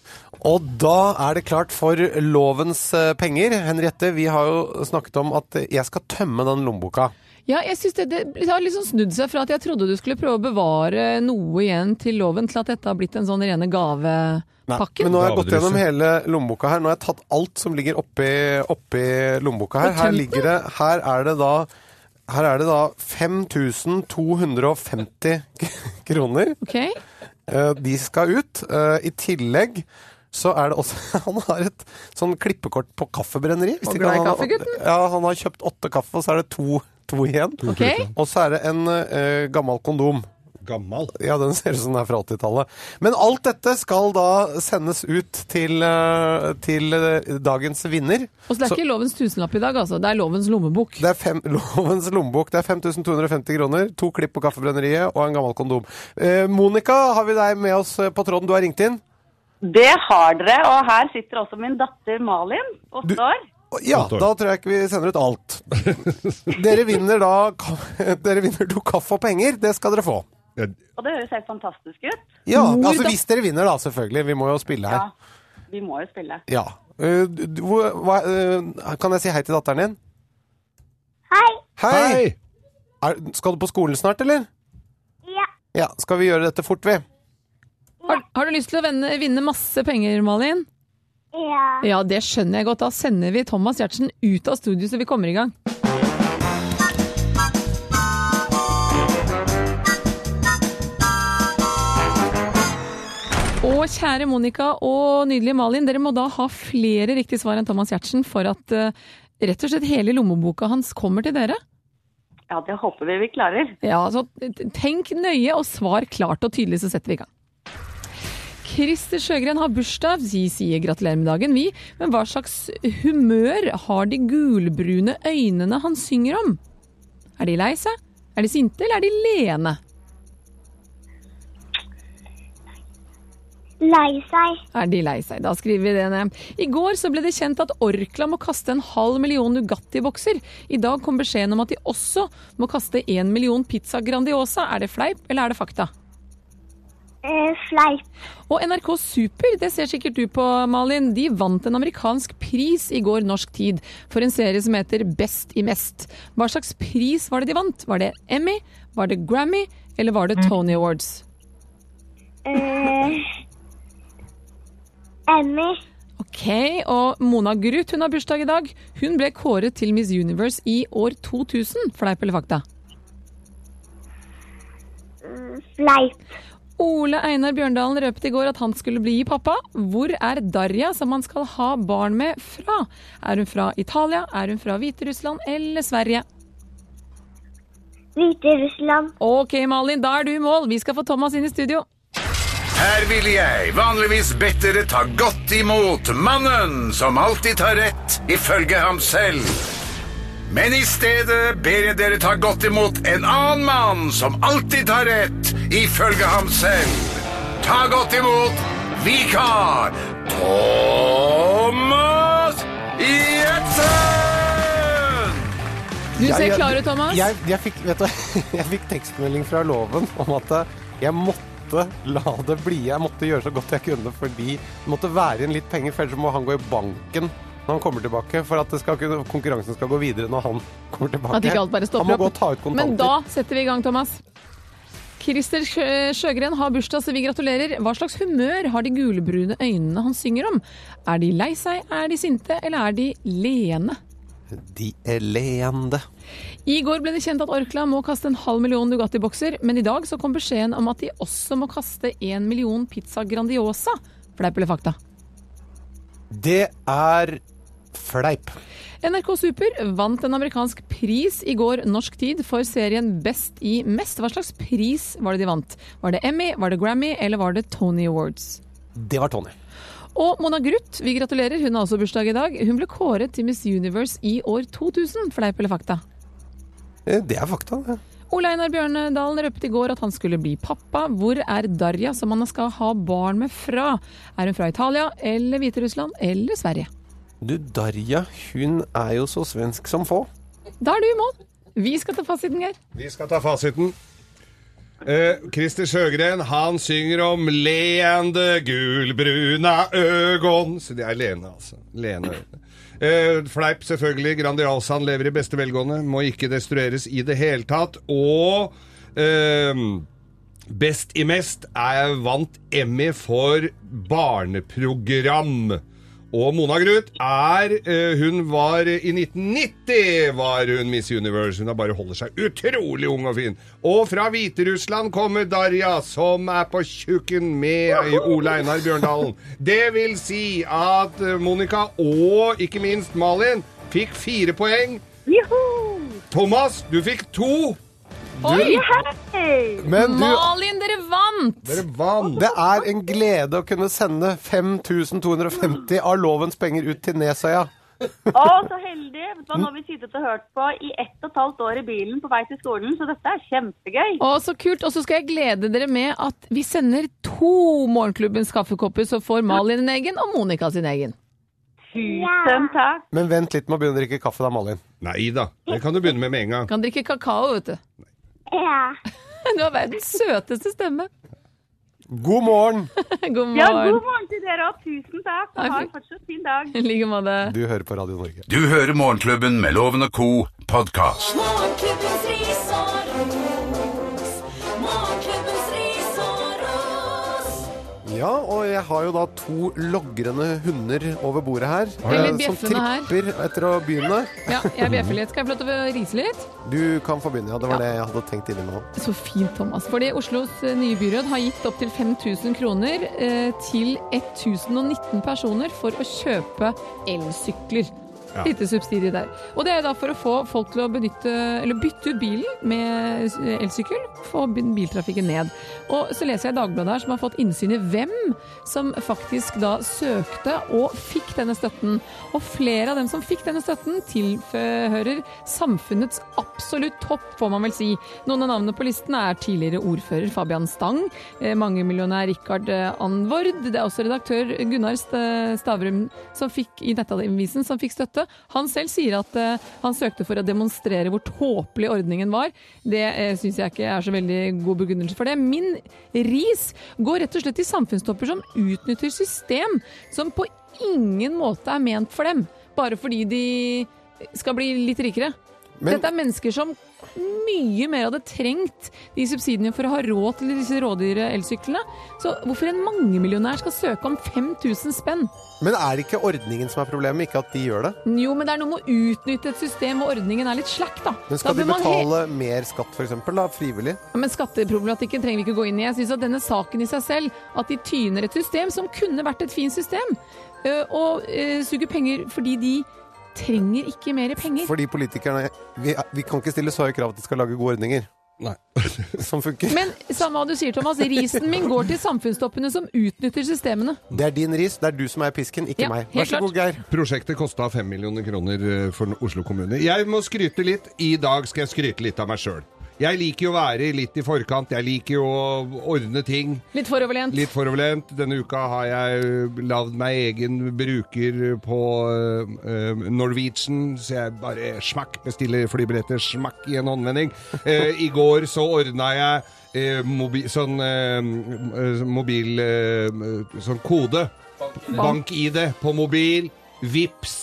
[SPEAKER 3] Og da er det klart for lovens eh, penger. Henriette, vi har jo snakket om at jeg skal tømme den lommeboka.
[SPEAKER 5] Ja, jeg synes det, det har liksom snudd seg fra at jeg trodde du skulle prøve å bevare noe igjen til loven, til at dette har blitt en sånn rene
[SPEAKER 3] Nei,
[SPEAKER 5] gavepakke.
[SPEAKER 3] Men nå har jeg gått
[SPEAKER 4] Gavedrysse.
[SPEAKER 3] gjennom hele lommeboka her. Nå har jeg tatt alt som ligger oppi, oppi lommeboka her.
[SPEAKER 5] Og
[SPEAKER 3] Her,
[SPEAKER 5] tømt
[SPEAKER 3] ligger det, her er det da her er det da 5250 [LAUGHS] kroner.
[SPEAKER 5] Ok?
[SPEAKER 3] Eh, De skal ut. Eh, I tillegg så er det også [LAUGHS] Han har et sånn klippekort på kaffebrenneri. Hvis
[SPEAKER 5] Og
[SPEAKER 3] ikke
[SPEAKER 5] glad i
[SPEAKER 3] han har-
[SPEAKER 5] kaffe, gutten.
[SPEAKER 3] Ja, han har kjøpt åtte kaffe, og så er det to, to igjen.
[SPEAKER 5] Ok?
[SPEAKER 3] Og så er det en eh, gammel kondom.
[SPEAKER 4] Gammal.
[SPEAKER 3] Ja, den ser ut som den er fra 80-tallet. Men alt dette skal da sendes ut til, eh, til eh, dagens vinner.
[SPEAKER 5] Og så det er ikke lovens tusenlapp i dag, altså. Det er lovens lommebok.
[SPEAKER 3] Det er fem, [LAUGHS] lovens lommebok. Det er 5250 kroner, to klipp på Kaffebrenneriet og en gammel kondom. Eh, Monica, har vi deg med oss eh, på tråden? Du har ringt inn?
[SPEAKER 8] Det har dere, og her sitter også min datter Malin, åtte
[SPEAKER 3] Du-
[SPEAKER 8] år.
[SPEAKER 3] Å, Ja,
[SPEAKER 4] Godt år.
[SPEAKER 3] da tror jeg ikke vi sender ut alt. Dere vinner da ka- [LAUGHS] Dere vinner to kaffe og penger. Det skal dere få.
[SPEAKER 8] Og det høres helt fantastisk ut.
[SPEAKER 3] Ja,
[SPEAKER 5] Hvor
[SPEAKER 3] altså
[SPEAKER 5] da-
[SPEAKER 3] Hvis dere vinner, da, selvfølgelig. Vi må jo spille her.
[SPEAKER 8] Ja, vi må jo spille.
[SPEAKER 3] Ja. Eh, du- du- hvor- hva, eh, kan jeg si hei til datteren din?
[SPEAKER 9] Hei.
[SPEAKER 3] Hei!
[SPEAKER 4] Hei!
[SPEAKER 3] Er, skal du på skolen snart, eller?
[SPEAKER 9] Ja.
[SPEAKER 3] Ja, Skal vi gjøre dette fort, vi?
[SPEAKER 5] Har, har du lyst til å vende, vinne masse penger, Malin?
[SPEAKER 9] Ja.
[SPEAKER 5] Ja, det skjønner jeg godt. Da sender vi Thomas Giertsen ut av studio så vi kommer i gang. Og kjære Monica og nydelige Malin, dere må da ha flere riktige svar enn Thomas Giertsen for at eh, rett og slett hele lommeboka hans kommer til dere.
[SPEAKER 8] Ja, det håper vi vi klarer.
[SPEAKER 5] Ja, så t- tenk nøye og svar klart og tydelig, så setter vi i gang. Christer Sjøgren har bursdag. Vi sier gratulerer med dagen, vi. Men hva slags humør har de gulbrune øynene han synger om? Er de lei seg? Er de sinte, eller er de leende?
[SPEAKER 9] Lei seg.
[SPEAKER 5] er de lei seg. Da skriver vi det ned. I går så ble det kjent at Orkla må kaste en halv million Nugatti-bokser. I dag kom beskjeden om at de også må kaste en million Pizza Grandiosa. Er det fleip, eller er det fakta?
[SPEAKER 9] Eh, fleip.
[SPEAKER 5] Og NRK Super, det ser sikkert du på, Malin. De vant en amerikansk pris i går norsk tid for en serie som heter Best i mest. Hva slags pris var det de vant? Var det Emmy? Var det Grammy? Eller var det Tony Awards?
[SPEAKER 9] Eh, Emmy.
[SPEAKER 5] Ok, og Mona Gruth hun har bursdag i dag. Hun ble kåret til Miss Universe i år 2000, fleip eller fakta.
[SPEAKER 9] Fleip.
[SPEAKER 5] Ole Einar Bjørndalen røpet i går at han skulle bli pappa. Hvor er Darja, som han skal ha barn med, fra? Er hun fra Italia, er hun fra Hviterussland eller Sverige?
[SPEAKER 9] Hviterussland.
[SPEAKER 5] Ok, Malin, da er du i mål. Vi skal få Thomas inn i studio.
[SPEAKER 2] Her ville jeg vanligvis bedt dere ta godt imot mannen som alltid tar rett, ifølge ham selv. Men i stedet ber jeg dere ta godt imot en annen mann som alltid tar rett, ifølge ham selv. Ta godt imot vikar Thomas Gjertsen!
[SPEAKER 5] Du ser
[SPEAKER 3] Jeg-
[SPEAKER 5] klar ut, Thomas.
[SPEAKER 3] [LAUGHS] eh, Jeg, jeg, fikk, vet du, jeg fikk tekstmelding fra loven om at jeg måtte måtte la det bli. Jeg måtte gjøre så godt jeg kunne, fordi det måtte være igjen litt penger, for ellers må han gå i banken når han kommer tilbake, for at det skal kunne, konkurransen skal gå videre når han kommer tilbake.
[SPEAKER 5] At ikke alt bare
[SPEAKER 3] han må
[SPEAKER 5] stopper
[SPEAKER 3] gå og ta ut kontanter.
[SPEAKER 5] Men da setter vi i gang, Thomas. Christer Sjø- Sjøgren har bursdag, så vi gratulerer. Hva slags humør har de gulbrune øynene han synger om? Er de lei seg, er de sinte, eller er de leende?
[SPEAKER 3] De elende.
[SPEAKER 5] I går ble det kjent at Orkla må kaste en halv million Nugatti-bokser, men i dag så kom beskjeden om at de også må kaste en million Pizza Grandiosa. Fleip eller fakta?
[SPEAKER 3] Det er fleip.
[SPEAKER 5] NRK Super vant en amerikansk pris i går norsk tid for serien Best i mest. Hva slags pris var det de vant? Var det Emmy, var det Grammy eller var det Tony Awards?
[SPEAKER 3] Det var Tony.
[SPEAKER 5] Og Mona Gruth, vi gratulerer, hun har også bursdag i dag. Hun ble kåret til Miss Universe i år 2000, fleip eller fakta?
[SPEAKER 3] Eh, Det er fakta, det.
[SPEAKER 5] Ole Einar Bjørnedalen røpte i går at han skulle bli pappa. Hvor er Darja, som han skal ha barn med fra? Er hun fra Italia eller Hviterussland eller Sverige?
[SPEAKER 3] Du, Darja, hun er jo så svensk som få.
[SPEAKER 5] Da er du i mål! Vi skal ta fasiten, Geir.
[SPEAKER 4] Vi skal ta fasiten. Eh, Christer Sjøgren han synger om leende gulbruna øgon Så det er lene, altså. Lene øyne. Eh, fleip, selvfølgelig. Grandiosaen lever i beste velgående. Må ikke destrueres i det hele tatt. Og eh, Best i mest er vant Emmy for barneprogram. Og Mona Gruth er eh, Hun var i 1990 var hun Miss Universe. Hun har bare holder seg utrolig ung og fin. Og fra Hviterussland kommer Darja, som er på tjukken med i Ole Einar Bjørndalen. Det vil si at eh, Monica og ikke minst Malin fikk fire poeng. Thomas, du fikk to.
[SPEAKER 5] Oi!
[SPEAKER 3] Men du,
[SPEAKER 5] Malin, dere vant!
[SPEAKER 4] Dere vant.
[SPEAKER 3] det er en glede å kunne sende 5250 av lovens penger ut til Nesøya.
[SPEAKER 8] Å, så heldig! Vet du hva, Nå har vi sittet og hørt på i ett og et halvt år i bilen på vei til skolen, så dette er kjempegøy.
[SPEAKER 5] Å, så kult. Og så skal jeg glede dere med at vi sender to Morgenklubbens kaffekopper, så får Malin en egen og Monica sin egen.
[SPEAKER 8] Tusen takk.
[SPEAKER 3] Men vent litt med å begynne å drikke kaffe, da, Malin.
[SPEAKER 4] Nei da, det kan du begynne med med en gang.
[SPEAKER 5] Kan drikke kakao, vet du.
[SPEAKER 9] Ja.
[SPEAKER 5] [LAUGHS] Du har verdens søteste stemme.
[SPEAKER 3] God morgen!
[SPEAKER 5] God
[SPEAKER 8] Ja, god
[SPEAKER 5] morgen.
[SPEAKER 8] morgen til dere òg. Tusen takk.
[SPEAKER 5] Nei,
[SPEAKER 8] Og ha en
[SPEAKER 5] fy-
[SPEAKER 8] fortsatt fin dag.
[SPEAKER 5] I like måte.
[SPEAKER 3] Du hører på Radio Norge.
[SPEAKER 2] Du hører Morgenklubben med Loven og Co. podkast.
[SPEAKER 1] Morgenklubbens ris og ros. Morgenklubbens ris og ros.
[SPEAKER 3] Ja, og jeg har jo da to logrende hunder over bordet her.
[SPEAKER 5] Eller
[SPEAKER 3] eh, som
[SPEAKER 5] bjeffende her.
[SPEAKER 3] tripper etter å begynne.
[SPEAKER 5] Ja, jeg bjeffer litt. Skal jeg få lov til å rise litt?
[SPEAKER 3] Du kan få begynne. Ja, det var det jeg hadde tenkt inni meg.
[SPEAKER 5] Så fint, Thomas. Fordi Oslos eh, nye byråd har gitt opptil 5000 kroner eh, til 1019 personer for å kjøpe elsykler. Lite subsidie der. Og det er da for å få folk til å benytte, eller bytte ut bilen med s- elsykkel. Få bi- biltrafikken ned. Og så leser jeg Dagbladet her, som har fått innsyn i hvem som faktisk da søkte og fikk denne støtten. Og flere av dem som fikk denne støtten, tilhører samfunnets absolutt topp, får man vel si. Noen av navnene på listen er tidligere ordfører Fabian Stang, eh, mangemillionær Rikard eh, Anvord, det er også redaktør Gunnar St- eh, Stavrum som fikk, i Nettavisen som fikk støtte. Han selv sier at eh, han søkte for å demonstrere hvor tåpelig ordningen var. Det eh, syns jeg ikke er så veldig god begrunnelse for det. Min ris går rett og slett til samfunnstopper som utnytter system som på ingen måte er ment for dem, bare fordi de skal bli litt rikere.
[SPEAKER 3] Men-
[SPEAKER 5] Dette er mennesker som mye mer hadde trengt de subsidiene for å ha råd til disse rådyre elsyklene. Så hvorfor en mangemillionær skal søke om 5000 spenn?
[SPEAKER 3] Men er det ikke ordningen som er problemet, ikke at de gjør det?
[SPEAKER 5] Jo, men det er noe med å utnytte et system hvor ordningen er litt slack, da.
[SPEAKER 3] Men skal
[SPEAKER 5] da
[SPEAKER 3] de
[SPEAKER 5] bør man he-
[SPEAKER 3] betale mer skatt, for eksempel, da, frivillig?
[SPEAKER 5] Ja, Men skatteproblematikken trenger vi ikke gå inn i. Jeg synes at denne saken i seg selv, at de tyner et system som kunne vært et fint system, øh, og øh, suger penger fordi de trenger ikke mer penger.
[SPEAKER 3] Fordi politikerne vi, vi kan ikke stille så høye krav at de skal lage gode ordninger [LAUGHS] som funker.
[SPEAKER 5] Men samme hva du sier, Thomas, risen min går til samfunnstoppene som utnytter systemene.
[SPEAKER 3] Det er din ris, det er du som er pisken, ikke
[SPEAKER 5] Ja,
[SPEAKER 3] meg. Vær
[SPEAKER 5] helt
[SPEAKER 3] så god, Geir.
[SPEAKER 4] Prosjektet kosta 5 millioner kroner eh, for Oslo kommune. Jeg må skryte litt. I dag skal jeg skryte litt av meg sjøl. Jeg liker jo å være litt i forkant. Jeg liker jo å ordne ting.
[SPEAKER 5] Litt foroverlent.
[SPEAKER 4] Litt foroverlent. Denne uka har jeg lagd meg egen bruker på øh, Norwegian, så jeg bare smakk bestiller flybilletter, smakk i en
[SPEAKER 5] [LAUGHS]
[SPEAKER 4] håndvending. Eh, I går så ordna jeg eh, mobi, sånn eh, mobil eh, sånn kode.
[SPEAKER 6] Bank-ID.
[SPEAKER 4] Bank-ID på mobil, VIPS,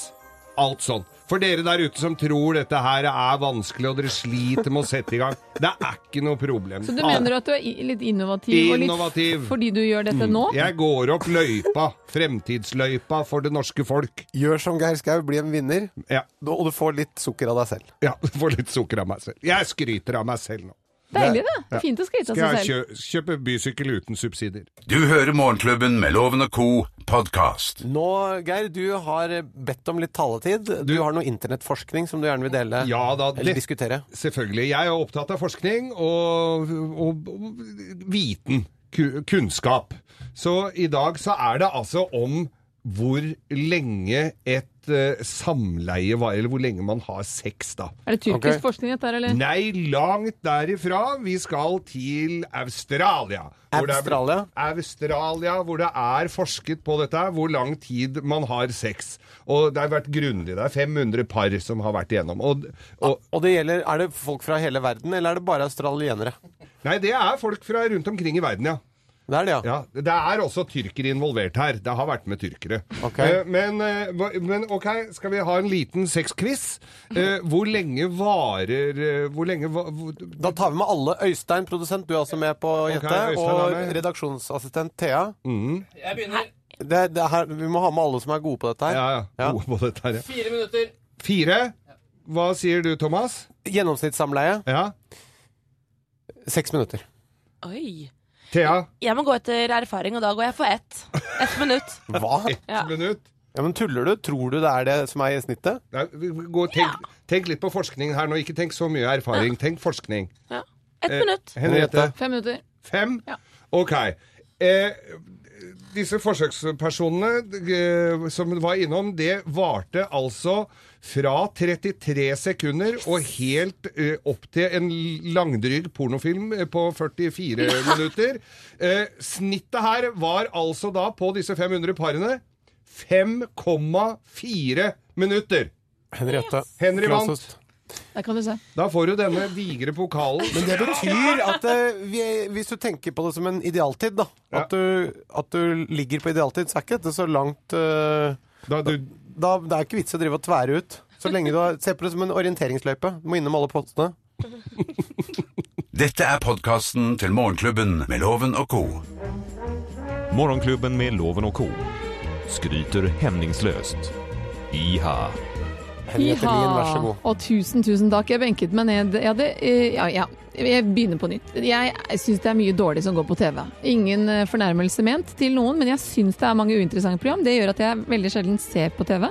[SPEAKER 4] alt sånn. For dere der ute som tror dette her er vanskelig og dere sliter med å sette i gang, det er ikke noe problem.
[SPEAKER 5] Så du mener at du er i- litt innovativ, og litt
[SPEAKER 4] Ah, Innovativ. Mm.
[SPEAKER 5] f- fordi du gjør dette nå?
[SPEAKER 4] Jeg går opp løypa, fremtidsløypa for det norske folk.
[SPEAKER 3] Gjør som Geir Skau, bli en vinner,
[SPEAKER 4] Ja.
[SPEAKER 3] og du får litt sukker av deg selv.
[SPEAKER 4] Ja, får litt sukker av meg selv. Jeg skryter av meg selv nå.
[SPEAKER 5] Deilig, det. Det er Fint å skryte av seg
[SPEAKER 4] Skal jeg
[SPEAKER 5] selv.
[SPEAKER 4] kjø kjøpe bysykkel uten subsidier?
[SPEAKER 2] Du hører Morgenklubben med Loven og Co. podkast.
[SPEAKER 3] Nå, Geir, du har bedt om litt taletid. Du, har noe internettforskning som du gjerne vil dele
[SPEAKER 4] Ja da,
[SPEAKER 3] eller
[SPEAKER 4] det-
[SPEAKER 3] diskutere.
[SPEAKER 4] Selvfølgelig. Jeg er opptatt av forskning og, og, og viten. Ku- Kunnskap. Så i dag så er det altså om hvor lenge et eh, samleie var, eller hvor lenge man har sex, da.
[SPEAKER 5] Er det tyrkisk
[SPEAKER 3] Ok.
[SPEAKER 5] forskning dette her, eller?
[SPEAKER 4] Nei, langt derifra. Vi skal til Australia. Hvor det er-
[SPEAKER 3] Australia?
[SPEAKER 4] Australia, hvor det er forsket på dette, her, hvor lang tid man har sex. Og det har vært grundig. Det er 500 par som har vært igjennom. Og, og,
[SPEAKER 3] Og det gjelder, Er det folk fra hele verden, eller er det bare australienere?
[SPEAKER 4] nei, det er folk fra rundt omkring i verden, ja.
[SPEAKER 3] Det er det, ja.
[SPEAKER 4] Ja, Det er også tyrkere involvert her. Det har vært med tyrkere.
[SPEAKER 3] Ok.
[SPEAKER 4] Eh, Men, eh, hva- men ok, skal vi ha en liten sexquiz? Eh, Hvor lenge varer eh, Hvor lenge va- hvor,
[SPEAKER 3] Da tar vi med alle. Øystein, produsent, du er også med på å gjette.
[SPEAKER 4] Øystein er
[SPEAKER 3] og
[SPEAKER 4] med. Mm.
[SPEAKER 3] redaksjonsassistent Thea.
[SPEAKER 6] Jeg begynner.
[SPEAKER 3] Det, det her, vi må ha med alle som er gode på dette her.
[SPEAKER 4] Ja, ja.
[SPEAKER 3] Ja.
[SPEAKER 4] Gode på dette her, ja.
[SPEAKER 6] Fire minutter.
[SPEAKER 4] Fire. Hva sier du, Thomas?
[SPEAKER 3] Gjennomsnittssamleie
[SPEAKER 4] Ja.
[SPEAKER 3] seks minutter.
[SPEAKER 10] Oi.
[SPEAKER 4] Thea,
[SPEAKER 10] Jeg må gå etter erfaring, og da går jeg for ett. Ett minutt.
[SPEAKER 3] Hva?
[SPEAKER 10] Ja.
[SPEAKER 4] ett minutt.
[SPEAKER 3] [LAUGHS] Ja, men Tuller du? Tror du det er det som er i snittet?
[SPEAKER 4] Nei, vi- vi går- tenk, tenk litt på forskning her nå. Ikke tenk så mye erfaring. Tenk forskning.
[SPEAKER 10] Ja. Ett
[SPEAKER 4] Eh,
[SPEAKER 10] minutt.
[SPEAKER 4] Henriette,
[SPEAKER 5] Fem minutter.
[SPEAKER 4] fem?
[SPEAKER 10] Ja.
[SPEAKER 4] Ok. Eh, disse forsøkspersonene eh, som var innom, det varte altså fra 33 sekunder og helt eh, opp til en langdrygg pornofilm eh, på 44 minutter. Eh, snittet her var altså da på disse 500 parene 5,4 minutter.
[SPEAKER 3] Henriette.
[SPEAKER 4] Henry vant.
[SPEAKER 3] Klåsås.
[SPEAKER 5] Der kan du se.
[SPEAKER 4] Da får du denne digre pokalen.
[SPEAKER 3] Men det betyr at eh, vi, hvis du tenker på det som en idealtid, da, at, du, at du ligger på idealtid, så er ikke dette så langt eh,
[SPEAKER 4] Da du,
[SPEAKER 3] da, Det er ikke vits å drive og tvære ut. Så lenge du har, Se på det som en orienteringsløype. Du må innom alle postene.
[SPEAKER 2] Dette er podkasten til Morgenklubben med Loven og Co.
[SPEAKER 11] Morgonklubben med Loven og Co. Skryter hemningsløst. Iha.
[SPEAKER 3] Henriette Lien, vær så god.
[SPEAKER 5] Og tusen, tusen takk. Jeg benket meg ned. Jeg, hadde, eh, ja, ja. jeg begynner på nytt. Jeg syns det er mye dårlig som går på TV. Ingen eh, fornærmelse ment til noen, men jeg syns det er mange uinteressante program. Det gjør at jeg veldig sjelden ser på TV.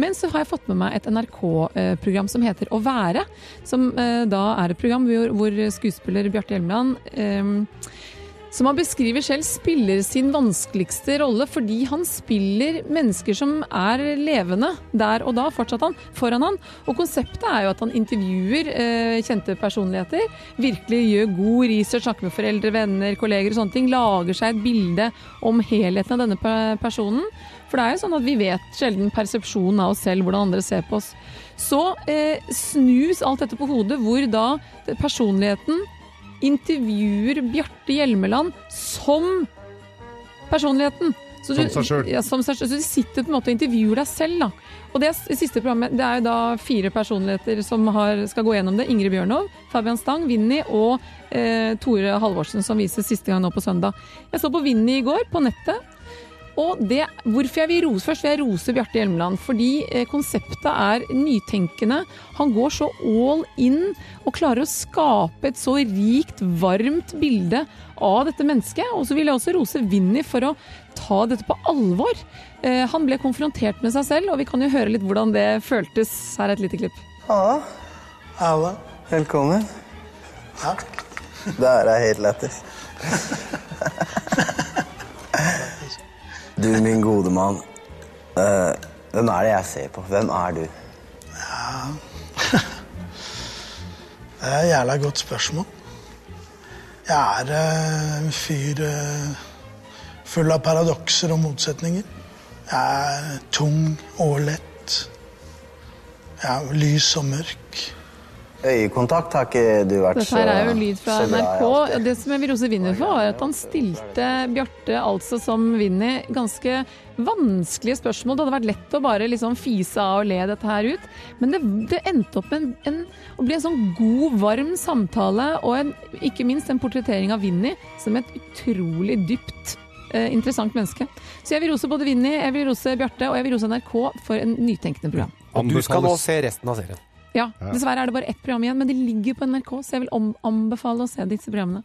[SPEAKER 5] Men så har jeg fått med meg et NRK-program som heter Å være. Som eh, da er et program hvor, hvor skuespiller Bjarte Hjelmeland eh, som han beskriver selv spiller sin vanskeligste rolle fordi han spiller mennesker som er levende der og da, fortsatt han, foran han. Og konseptet er jo at han intervjuer eh, kjente personligheter, virkelig gjør god research, snakker med foreldre, venner, kolleger og sånne ting, lager seg et bilde om helheten av denne pe- personen. For det er jo sånn at vi vet sjelden persepsjonen av oss selv, hvordan andre ser på oss. Så eh, snus alt dette på hodet, hvor da personligheten intervjuer Bjarte Hjelmeland som personligheten. Så
[SPEAKER 4] Som seg selv.
[SPEAKER 5] Ja, som seg selv. Så du sitter på en måte og intervjuer deg selv, da. Og det, s- siste programmet, det er jo da fire personligheter som har, skal gå gjennom det. Ingrid Bjørnov, Fabian Stang, Vinni og eh, Tore Halvorsen, som vises siste gang nå på søndag. Jeg så på Vinni i går, på nettet. Og det, hvorfor jeg vil rose først, vil jeg rose Bjarte Hjelmeland. Fordi eh, konseptet er nytenkende. Han går så all in og klarer å skape et så rikt, varmt bilde av dette mennesket. Og så vil jeg også rose Vinni for å ta dette på alvor. Eh, han ble konfrontert med seg selv, og vi kan jo høre litt hvordan det føltes. Her er et lite klipp.
[SPEAKER 12] Halla. Halla. Velkommen. Det her er helt lættis. Du, min gode mann. Eh, hvem er det jeg ser på? Hvem er du?
[SPEAKER 13] Det er et jævla godt spørsmål. Jeg er eh, en fyr eh, full av paradokser og motsetninger. Jeg er tung og lett. Jeg er lys og mørk.
[SPEAKER 12] Øyekontakt har ikke du vært
[SPEAKER 5] Dette
[SPEAKER 12] så
[SPEAKER 5] her er jo lyd fra
[SPEAKER 12] så glad i
[SPEAKER 5] NRK.
[SPEAKER 12] alltid.
[SPEAKER 5] og Det som jeg vil rose Vinni for, var at han stilte Bjarte altså som Vinni ganske vanskelige spørsmål. Det hadde vært lett å bare liksom fise av og le dette her ut, men det, det endte opp med en, en, å bli en sånn god, varm samtale, og en, ikke minst en portrettering av Vinni som et utrolig dypt eh, interessant menneske. Så jeg vil rose både Vinni, jeg vil rose Bjarte, og jeg vil rose NRK for en nytenkende program.
[SPEAKER 3] Og du skal nå se resten av serien.
[SPEAKER 5] Ja,
[SPEAKER 3] Ja.
[SPEAKER 5] dessverre er det bare ett program igjen, men det ligger på NRK, så jeg vil om- anbefale å se disse programmene.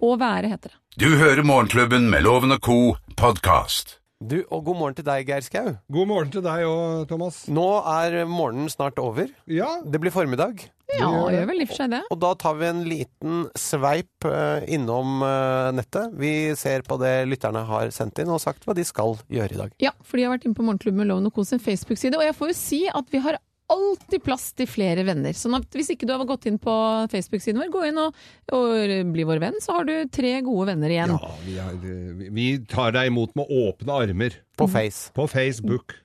[SPEAKER 5] Og være, heter det.
[SPEAKER 2] Du hører Morgenklubben med Loven og Co. podkast.
[SPEAKER 3] Du, og god morgen til deg, Geir Skau. God morgen til deg òg, Thomas. Nå er morgenen snart over. Ja. Det blir formiddag.
[SPEAKER 5] Ja, gjør vel i og for seg det.
[SPEAKER 3] Og da tar vi en liten sveip eh, innom eh, nettet. Vi ser på det lytterne har sendt inn og sagt hva de skal gjøre i dag.
[SPEAKER 5] Ja, for de har vært inne på Morgenklubben med Loven og Co. sin Facebook-side, og jeg får jo si at vi har alltid plass til flere venner. Sånn at hvis ikke du har gått inn på Facebook-siden vår, gå inn og, og bli vår venn, så har du tre gode venner igjen.
[SPEAKER 4] Ja, vi, er, vi- vi tar deg imot med åpne armer. På
[SPEAKER 3] Face.
[SPEAKER 4] På Facebook.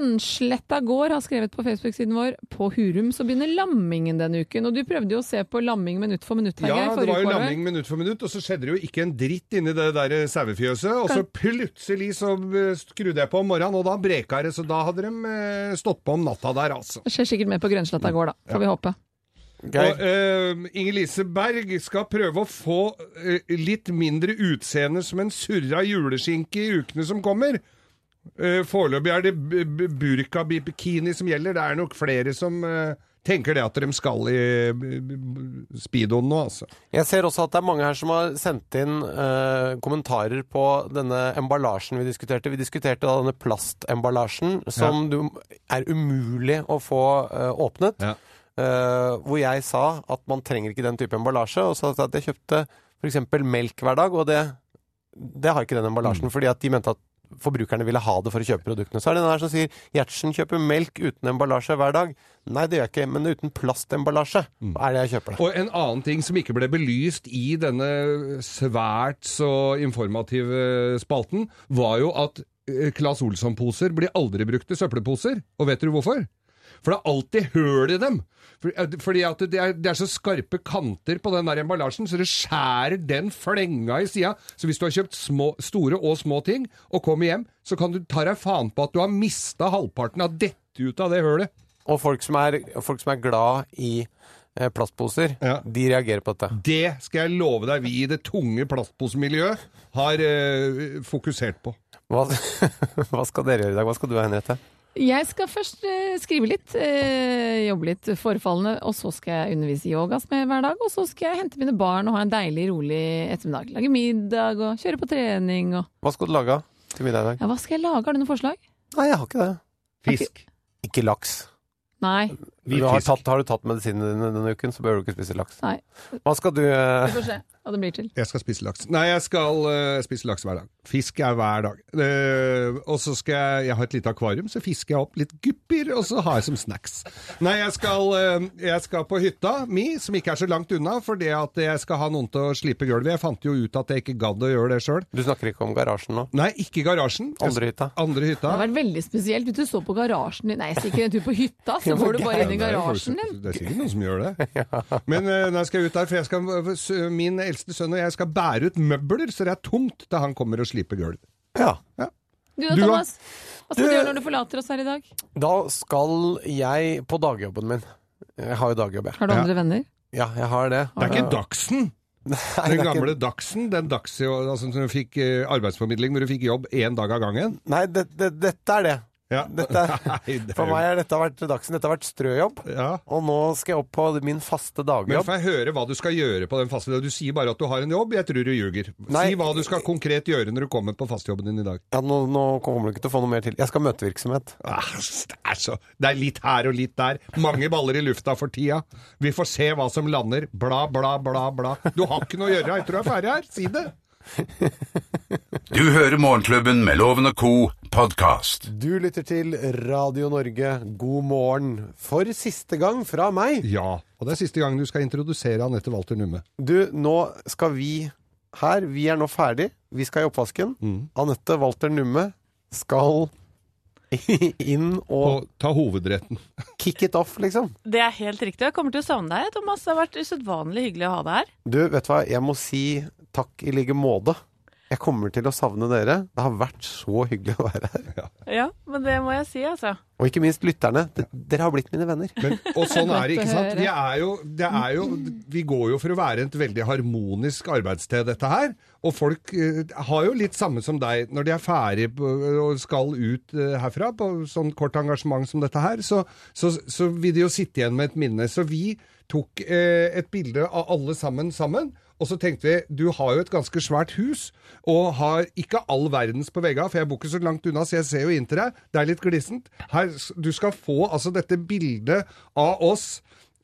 [SPEAKER 5] Grønnsletta gård har skrevet på Facebook-siden vår på Hurum, så begynner lammingen denne uken. Og du prøvde jo å se på lamming minutt for minutt her, Geir,
[SPEAKER 4] Ja, det
[SPEAKER 5] forrige
[SPEAKER 4] var jo
[SPEAKER 5] uke, vel?
[SPEAKER 4] lamming minutt for minutt, og så skjedde det jo ikke en dritt inni det der sauefjøset. Og så plutselig så eh, skrudde jeg på om morgenen, og da breka det, så da hadde de eh, stått på om natta der, altså.
[SPEAKER 5] Det skjer sikkert mer på Grønnsletta gård, da. Får vi håpe.
[SPEAKER 4] Og eh, Inger Lise Berg skal prøve å få eh, litt mindre utseende som en surra juleskinke i ukene som kommer. Eh, Foreløpig er det b- b- burka-bikini som gjelder. Det er nok flere som eh, tenker det at de skal i eh, b- b- speedoen nå, altså.
[SPEAKER 3] Jeg ser også at det er mange her som har sendt inn eh, kommentarer på denne emballasjen vi diskuterte. Vi diskuterte da denne plastemballasjen som
[SPEAKER 4] Ja.
[SPEAKER 3] du, er umulig å få eh, åpnet. Eh, hvor jeg sa at man trenger ikke den type emballasje, og så sa jeg at jeg kjøpte f.eks. melk hver dag, og det, det har ikke den emballasjen, fordi at de mente at forbrukerne ville ha det for å kjøpe produktene. Så er det den her som sier 'Gjertsen kjøper melk uten emballasje hver dag'. Nei, det gjør jeg ikke, men uten plastemballasje er det jeg kjøper. det.
[SPEAKER 4] Og en annen ting som ikke ble belyst i denne svært så informative spalten, var jo at eh, Claes Olsson-poser blir aldri brukt til søppelposer. Og vet du hvorfor? For det er alltid høl i dem. For- eh, Fordi at det er, det er så skarpe kanter på den der emballasjen, så det skjærer den flenga i sida. Så hvis du har kjøpt små, store og små ting og kommer hjem, så kan du ta deg faen på at du har mista halvparten av dette ut av det hølet.
[SPEAKER 3] Og folk som er, folk som er glad i eh, plastposer, de reagerer på dette.
[SPEAKER 4] Det skal jeg love deg vi i det tunge plastposemiljøet har eh, fokusert på.
[SPEAKER 3] Hva, [LAUGHS] hva skal dere gjøre i dag? Hva skal du, Henriette?
[SPEAKER 5] Jeg skal først eh, skrive litt, eh, jobbe litt forfallende, og så skal jeg undervise i yoga som jeg gjør hver dag. Og så skal jeg hente mine barn og ha en deilig, rolig ettermiddag. Lage middag og kjøre på trening og
[SPEAKER 3] Hva skal du lage til middag i dag?
[SPEAKER 5] Ja, hva skal jeg lage? Har du noe forslag?
[SPEAKER 3] Nei, jeg har ikke det.
[SPEAKER 4] Fisk.
[SPEAKER 3] Ikke laks.
[SPEAKER 5] Nei.
[SPEAKER 3] Du har, tatt, har du tatt medisinene dine denne uken, så bør du ikke spise laks.
[SPEAKER 5] Nei.
[SPEAKER 3] Hva skal du
[SPEAKER 5] Vi
[SPEAKER 3] eh,
[SPEAKER 5] får se hva det blir til.
[SPEAKER 4] Jeg skal spise laks. Nei, jeg skal eh, spise laks hver dag. Fisk er hver dag. Eh, og så skal jeg Jeg har et lite akvarium, så fisker jeg opp litt gupper, og så har jeg som snacks. Nei, jeg skal, eh, jeg skal på hytta mi, som ikke er så langt unna, fordi at jeg skal ha noen til å slipe gulvet. Jeg fant jo ut at jeg ikke gadd å gjøre det sjøl.
[SPEAKER 3] Du snakker ikke om garasjen nå?
[SPEAKER 4] Nei, ikke garasjen.
[SPEAKER 3] Andre hytta.
[SPEAKER 4] Andre
[SPEAKER 5] Det
[SPEAKER 4] hytta.
[SPEAKER 5] har vært veldig spesielt. Hvis du så på garasjen din Nei, jeg stikker en tur på hytta, så går du bare inn i
[SPEAKER 4] Ja, det er jo folk
[SPEAKER 5] garasjen
[SPEAKER 4] som-
[SPEAKER 5] din.
[SPEAKER 4] Det er sikkert noen som
[SPEAKER 3] [LAUGHS]
[SPEAKER 4] gjør det. Men eh, nå skal jeg ut der, for jeg skal, s- min eldste sønn og jeg skal bære ut møbler, så det er tungt da han kommer og sliper gulv.
[SPEAKER 3] Ja.
[SPEAKER 5] Du da,
[SPEAKER 4] Du da?
[SPEAKER 5] Thomas? Hva skal du
[SPEAKER 3] Du-
[SPEAKER 5] gjøre når du forlater oss her i dag?
[SPEAKER 3] Da skal jeg på dagjobben min. Jeg har jo dagjobb, jeg.
[SPEAKER 5] Har du andre venner?
[SPEAKER 3] Ja, jeg har det.
[SPEAKER 4] Det er ikke Dagsen!
[SPEAKER 3] det
[SPEAKER 4] den
[SPEAKER 3] er ikke-
[SPEAKER 4] gamle Dagsen, den Dagsio, altså, som fikk eh, arbeidsformidling hvor du fikk jobb én dag av gangen.
[SPEAKER 3] Nei, det, det, dette er det. [LAUGHS] Dette,
[SPEAKER 4] [LAUGHS] Nei, det er
[SPEAKER 3] for
[SPEAKER 4] jo-
[SPEAKER 3] meg har dette har vært dagsen. Dette har vært strøjobb. Og nå skal jeg opp på min faste
[SPEAKER 4] Men
[SPEAKER 3] dagjobb.
[SPEAKER 4] får jeg høre hva du skal gjøre på den faste Du sier bare at du har en jobb, jeg tror du ljuger.
[SPEAKER 3] Nei.
[SPEAKER 4] Si hva du skal konkret gjøre når du kommer på fastjobben din i dag.
[SPEAKER 3] Ja, nå, nå kommer du ikke til å få noe mer til. Jeg skal møte virksomhet.
[SPEAKER 4] Det er, så, det er litt her og litt der. Mange baller i lufta for tida. Vi får se hva som lander. Bla, bla, bla, bla. Du har ikke noe å gjøre. Jeg tror jeg er ferdig her. Si det.
[SPEAKER 2] Du hører Morgenklubben med Loven og Co. podkast.
[SPEAKER 3] Du lytter til Radio Norge. God morgen. For siste gang fra meg.
[SPEAKER 4] Ja, og det er siste gang du skal introdusere Anette Walter Numme.
[SPEAKER 3] Du, nå skal vi her. Vi er nå ferdig. Vi skal i oppvasken. Anette Walter Numme skal [LAUGHS] inn og
[SPEAKER 4] Ta hovedretten.
[SPEAKER 3] Kick it off, liksom.
[SPEAKER 10] Det er helt riktig. Jeg kommer til å savne deg, Thomas. Det har vært usedvanlig hyggelig å ha deg her.
[SPEAKER 3] Du, vet du hva? Jeg må si takk i like måte. Jeg kommer til å savne dere. Det har vært så hyggelig å være her.
[SPEAKER 10] Ja, men det må jeg si, altså.
[SPEAKER 3] Og ikke minst lytterne. D- Dere har blitt mine venner.
[SPEAKER 4] Og sånn er det, ikke sant? Vi, er jo, det er jo, vi går jo for å være et veldig harmonisk arbeidssted, dette her. Og folk eh, har jo litt samme som deg. Når de er ferdig på, og skal ut eh, herfra på sånn kort engasjement som dette her, så, så, så vil de jo sitte igjen med et minne. Så vi tok eh, et bilde av alle sammen sammen. Og så tenkte vi, du har jo et ganske svært hus, og har ikke all verdens på veggene, for jeg bor ikke så langt unna, så jeg ser jo inn til deg. Det er litt glissent. Her, s- du skal få altså dette bildet av oss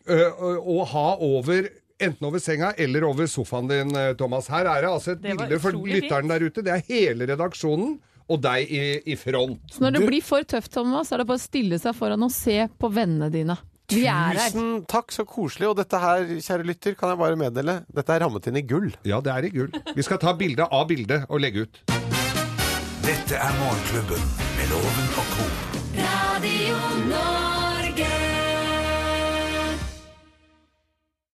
[SPEAKER 4] ø, ø, å Eh, ha over Enten over senga eller over sofaen din, ø, Thomas. Her er det altså et
[SPEAKER 5] Det var
[SPEAKER 4] bilde for
[SPEAKER 5] utrolig fint.
[SPEAKER 4] lytteren der ute. Det er hele redaksjonen og deg i, i front.
[SPEAKER 5] Så når det
[SPEAKER 4] Du-
[SPEAKER 5] blir for tøft, Thomas, så er det bare å stille seg foran og se på vennene dine. Vi er her.
[SPEAKER 3] Tusen takk, så koselig. Og dette her, kjære lytter, kan jeg bare meddele, dette er rammet inn i gull.
[SPEAKER 4] Ja, det er i gull. Vi skal ta bilde av bildet og legge ut.
[SPEAKER 2] Dette er Morgenklubben med Loven og Co.